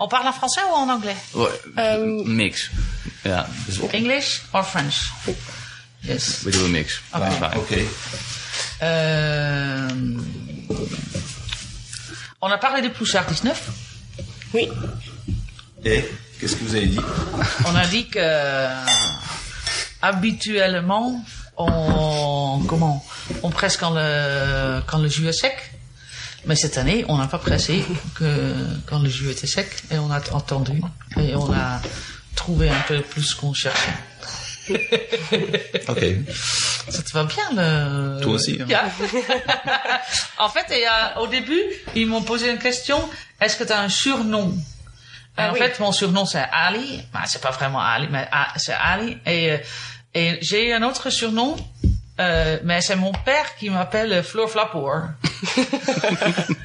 On parle en français ou en anglais? Ehm. Niks. mix. Ja, dus op. English or French? Yes. We doen een mix. Oké. Dat is fijn. Ok. Euh, on a parlé de Poussard 19. Oui. Et qu'est-ce que vous avez dit On a dit que euh, habituellement, on comment On presse quand le quand le jus est sec. Mais cette année, on n'a pas pressé que quand le jus était sec et on a attendu et on a trouvé un peu plus qu'on cherchait. Ok. *laughs* Ça te va bien le. Toi aussi, hein. Yeah. *laughs* en fait, il y a- au début, ils m'ont posé une question. Est-ce que tu as un surnom Et Ah En oui. fait, mon surnom c'est Ali. Bah, c'est pas vraiment Ali, mais A- c'est Ali. Et, euh, et j'ai un autre surnom. euh, mais c'est mon père qui m'appelle euh, Fleur *laughs* Flapoor.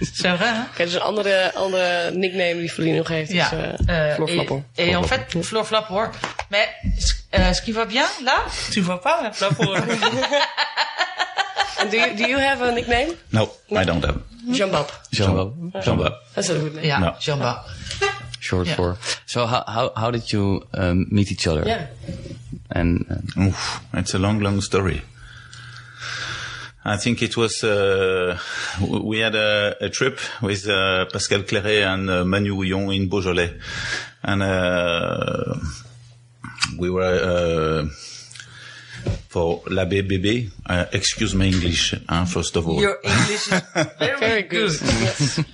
c'est vrai, hein? Kijk, dat is een andere, andere nickname die Florien nog heeft. Ja. Dus, eh, Euh, Fleur et- Flapper. Et, en fait, Fleur Flapper. Mais euh, ce qui va bien, là, tu vois pas hein, la *laughs* Flapper. And do, you, do you have a nickname? No, I don't have. Jean-Bab. Jean-Baptiste. Jean-Baptiste. Dat is een goed name. ja, Nou. Jamba. Short Ja. for. So how, how, how did you um, meet each other? Ja. And uh, Oof, it's a long, long story. I think it was uh, w- we had a, a trip with uh, Pascal Claret and uh, Manu Houillon in Beaujolais, and uh, we were uh, for L'Abbé Bébé. Uh, excuse my English, huh, first of all. Your English is very, Very good.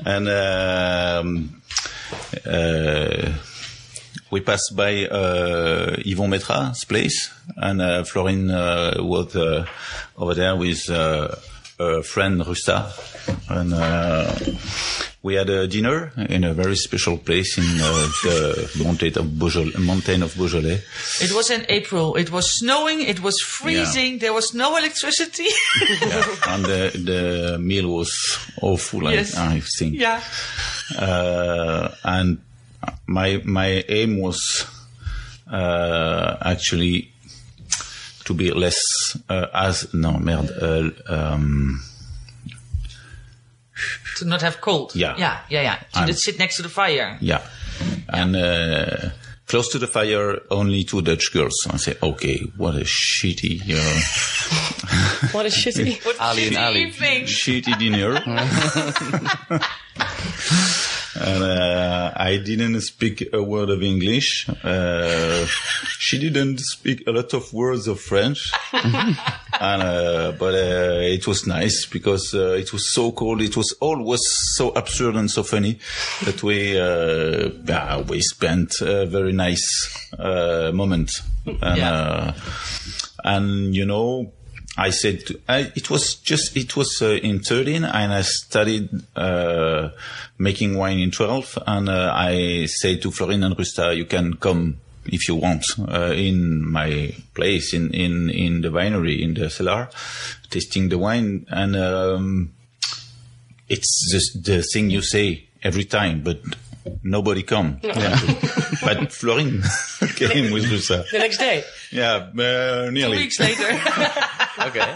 and um, uh, we passed by uh, Yvon Metra's place, and uh, Florine uh, was uh, over there with uh, her friend Rusta, and uh, we had a dinner in a very special place in uh, the mountain of Beaujolais. Mountain of Beaujolais. It was in April. It was snowing. It was freezing. There was no electricity. Yeah. and the, the meal was awful, *laughs* I- Yes. I, think. yeah. uh, and my my aim was uh, actually to be less uh, as no merde uh, um, To not have cold. Yeah. Yeah. Yeah. Yeah. To I'm- just sit next to the fire. yeah and uh, close to the fire only two Dutch girls I say okay what a shitty uh, What a shitty. *laughs* What Ali and shitty Ali. Evening. shitty dinner and uh, I didn't speak a word of English uh, she didn't speak a lot of words of French and uh, but uh, it was nice because uh, it was so cold. It was always so absurd and so funny that we uh, yeah, we spent a very nice uh, moment. And, Yeah. uh, and you know, I said to, I, it was just it was uh, in 13, and I studied uh, making wine in 12, and uh, I said to Florine and Rusta, you can come if you want uh, in my place in in in the winery in the cellar, tasting the wine, and um, it's just the thing you say every time, but. Nobody come, Yeah. but Florine *laughs* came with Rusta. The next day. Yeah, uh, nearly. Weeks later. Okay.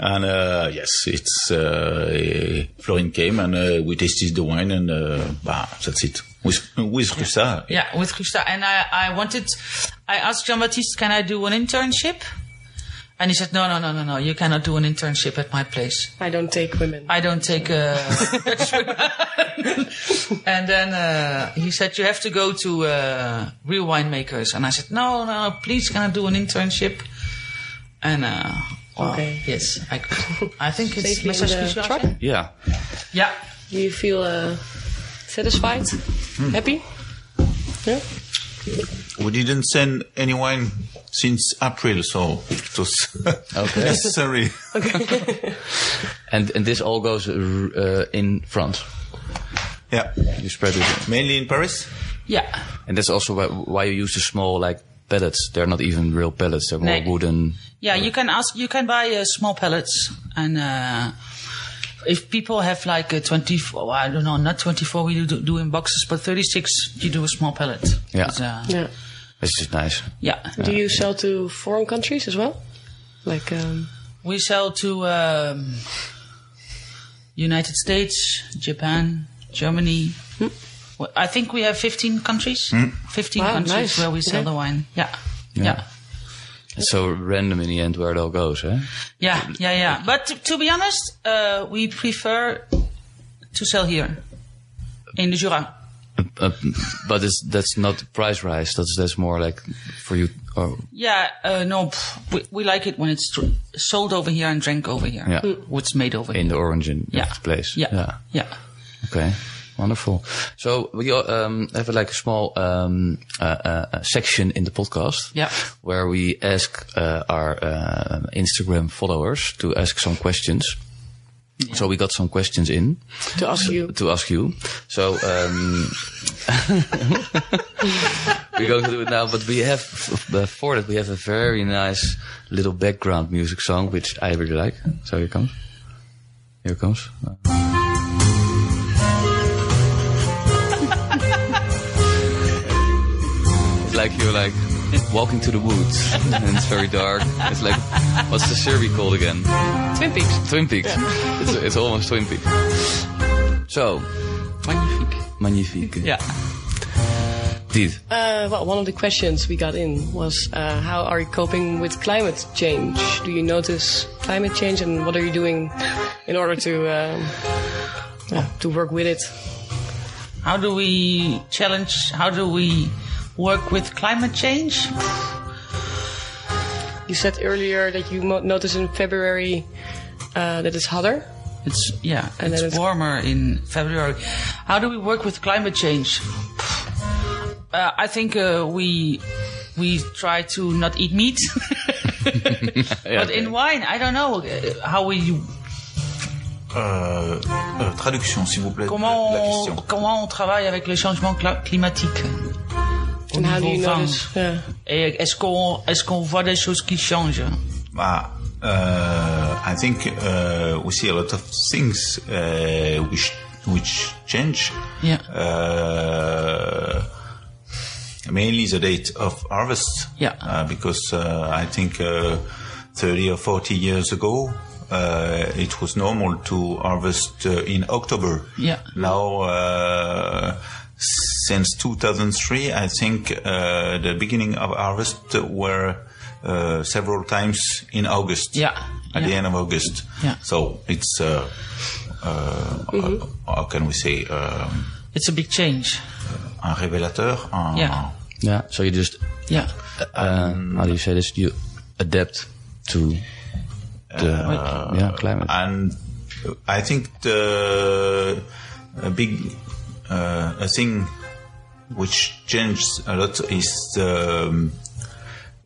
And uh, yes, it's uh, Florin came and uh, we tasted the wine and uh, bah, that's it. With with Rusa, yeah, with Gusta. And I, I wanted, I asked Jean Baptiste, can I do an internship? And he said, no, no, no, no, no, you cannot do an internship at my place. I don't take women. I don't take uh, Dutch women. *laughs* and then uh, he said, you have to go to uh, real winemakers. And I said, no, no, no, please, can I do an internship? And uh, well, Okay. yes, I, could. I think it's Safely in Messrs. the Gusta. trap? Ja, Yeah. Do you feel uh, satisfied? Happy? Yeah. we didn't send any wine since April, so it was *laughs* necessary. and, and this all goes uh, in France. Yeah, You spread it. mainly in Paris. Yeah. And that's also why, why you use the small like pellets. They're not even real pellets. They're more Nee. wooden. Yeah, you can ask. You can buy uh, small pellets, and uh, if people have like a twenty-four, well, I don't know, not twenty-four. We do, do in boxes, but thirty-six. You do a small pellet. Yeah. It's, uh, Yeah. It's just nice. yeah. Do you sell to foreign countries as well? Like, um, We sell to um, United States, Japan, Germany. Hmm. Well, I think we have fifteen countries. Fifteen Wow, countries nice. where we sell Okay. the wine. Yeah. Yeah. yeah. It's so random in the end where it all goes, eh? Yeah, yeah, yeah. But to, to be honest, uh, we prefer to sell here in the Jura. Uh, but it's, that's not price rise. That's that's more like for you. oh, Or, Yeah, uh, no, pff, we, we like it when it's tr- sold over here and drank over here. Mm. Yeah. What's made over in here. the origin Yeah. of the place. Yeah. yeah, yeah. Okay. Wonderful. So we um, have like a small um, uh, uh, uh, section in the podcast Yeah. where we ask uh, our uh, Instagram followers to ask some questions. So we got some questions in to ask you. to ask you. So um, *laughs* we're going to do it now. But we have uh, before that we have a very nice little background music song which I really like. So here it comes. Here it comes. *laughs* It's like you're like walking to the woods *laughs* and it's very dark. It's like what's the series called again? Twin Peaks. Twin Peaks. It's, it's almost Twin Peaks. Zo, Magnifique. magnifique. Yeah. Dit. Uh, well, one of the questions we got in was uh, how are you coping with climate change? Do you notice climate change and what are you doing in order to um, yeah, to work with it? How do we challenge, how do we work with climate change? You said earlier that you mo- noticed in February uh, that it's hotter. It's, yeah, And it's then it's- warmer in February. How do we work with climate change? Uh, I think uh, we we try to not eat meat. *laughs* but in wine, I don't know uh, how we Euh, euh, traduction, s'il vous plaît. de Comment la on, question. comment on travaille avec le changement cla- climatique au And how do niveau you vin notice? Yeah. Et est-ce qu'on est-ce qu'on voit des choses qui changent Ah, uh, I think uh, we see a lot of things uh, which which change. Yeah. Uh, mainly the date of harvest. Yeah. Uh, because uh, I think uh, 30 or 40 years ago. Uh, it was normal to harvest uh, in October. Yeah. Now, uh, since 2003, I think uh, the beginning of harvest were uh, several times in August. Yeah, At the yeah. end of August. Yeah. So it's, uh, uh, how can we say, um, It's a big change. un révélateur. Un, Yeah. Ja, so you just, Yeah. uh, how do you say this? You adapt to the yeah, climate. And I think the a big uh, a thing which changed a lot is the um,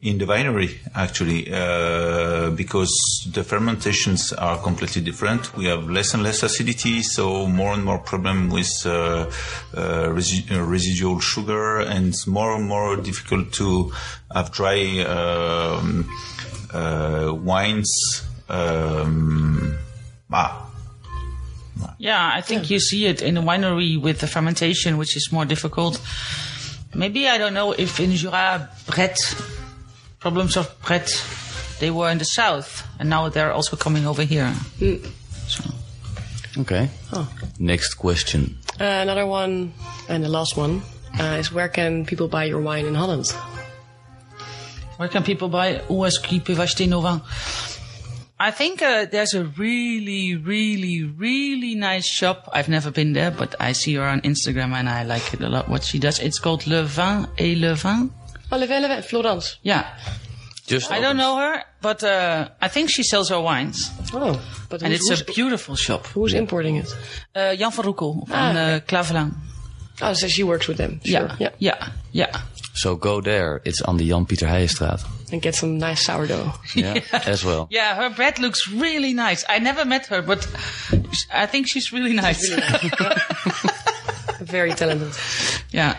in the winery actually uh, because the fermentations are completely different we have less and less acidity so more and more problem with uh, uh, resi- uh, residual sugar and it's more and more difficult to have dry um, uh, wines um, ah, Yeah, I think you see it in the winery with the fermentation, which is more difficult. Maybe I don't know if in Jura, Brett, problems of Brett, they were in the south, and now they're also coming over here. Oké. Next question. Uh, another one, and the last one, uh, is where can people buy your wine in Holland? Where can people buy OSQ Pivacheté Nova? I think uh, there's a really, really, really nice shop. I've never been there, but I see her on Instagram and I like it a lot what she does. It's called Le Vin et Le Vin. Oh, Leven, Leven, Florence. Yeah. Just I don't know her, but uh, I think she sells her wines. Oh, but and who's, it's who's, a beautiful shop. who's importing it? Uh, Jan van Roekel Ah, van uh, Klaverlaan. Oh, so she works with them. Sure. Yeah, yeah, yeah. So go there. It's on de Jan-Pieter Heijenstraat. And get some nice sourdough. *laughs* Yeah, as well. Yeah, her bread looks really nice. I never met her, but sh- I think she's really nice. *laughs* Very talented. yeah.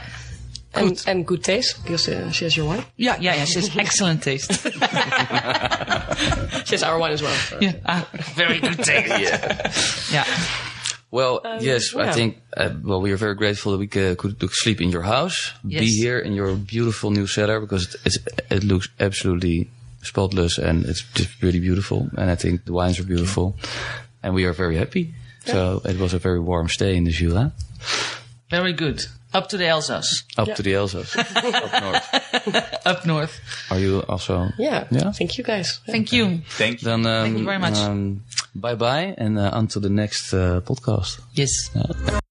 and, and good taste, because uh, she has your wine. Yeah, yeah, yeah. She has excellent *laughs* taste. She has our wine as well. yeah. ah, very good taste. yeah. Well, yes, I yeah. think, uh, well, we are very grateful that we c- could sleep in your house, be Yes. here in your beautiful new cellar because it, it's, it looks absolutely spotless and it's just really beautiful. And I think the wines are beautiful and we are very happy. So it was a very warm stay in the Jura. Very good. Up to the Elsass. Up to the Elsass, up north. Up north. Are you also? Yeah. Yeah. Thank you guys. Thank you. thank you Then, um, you very much. Um, bye bye and uh, until the next uh, podcast. Yes.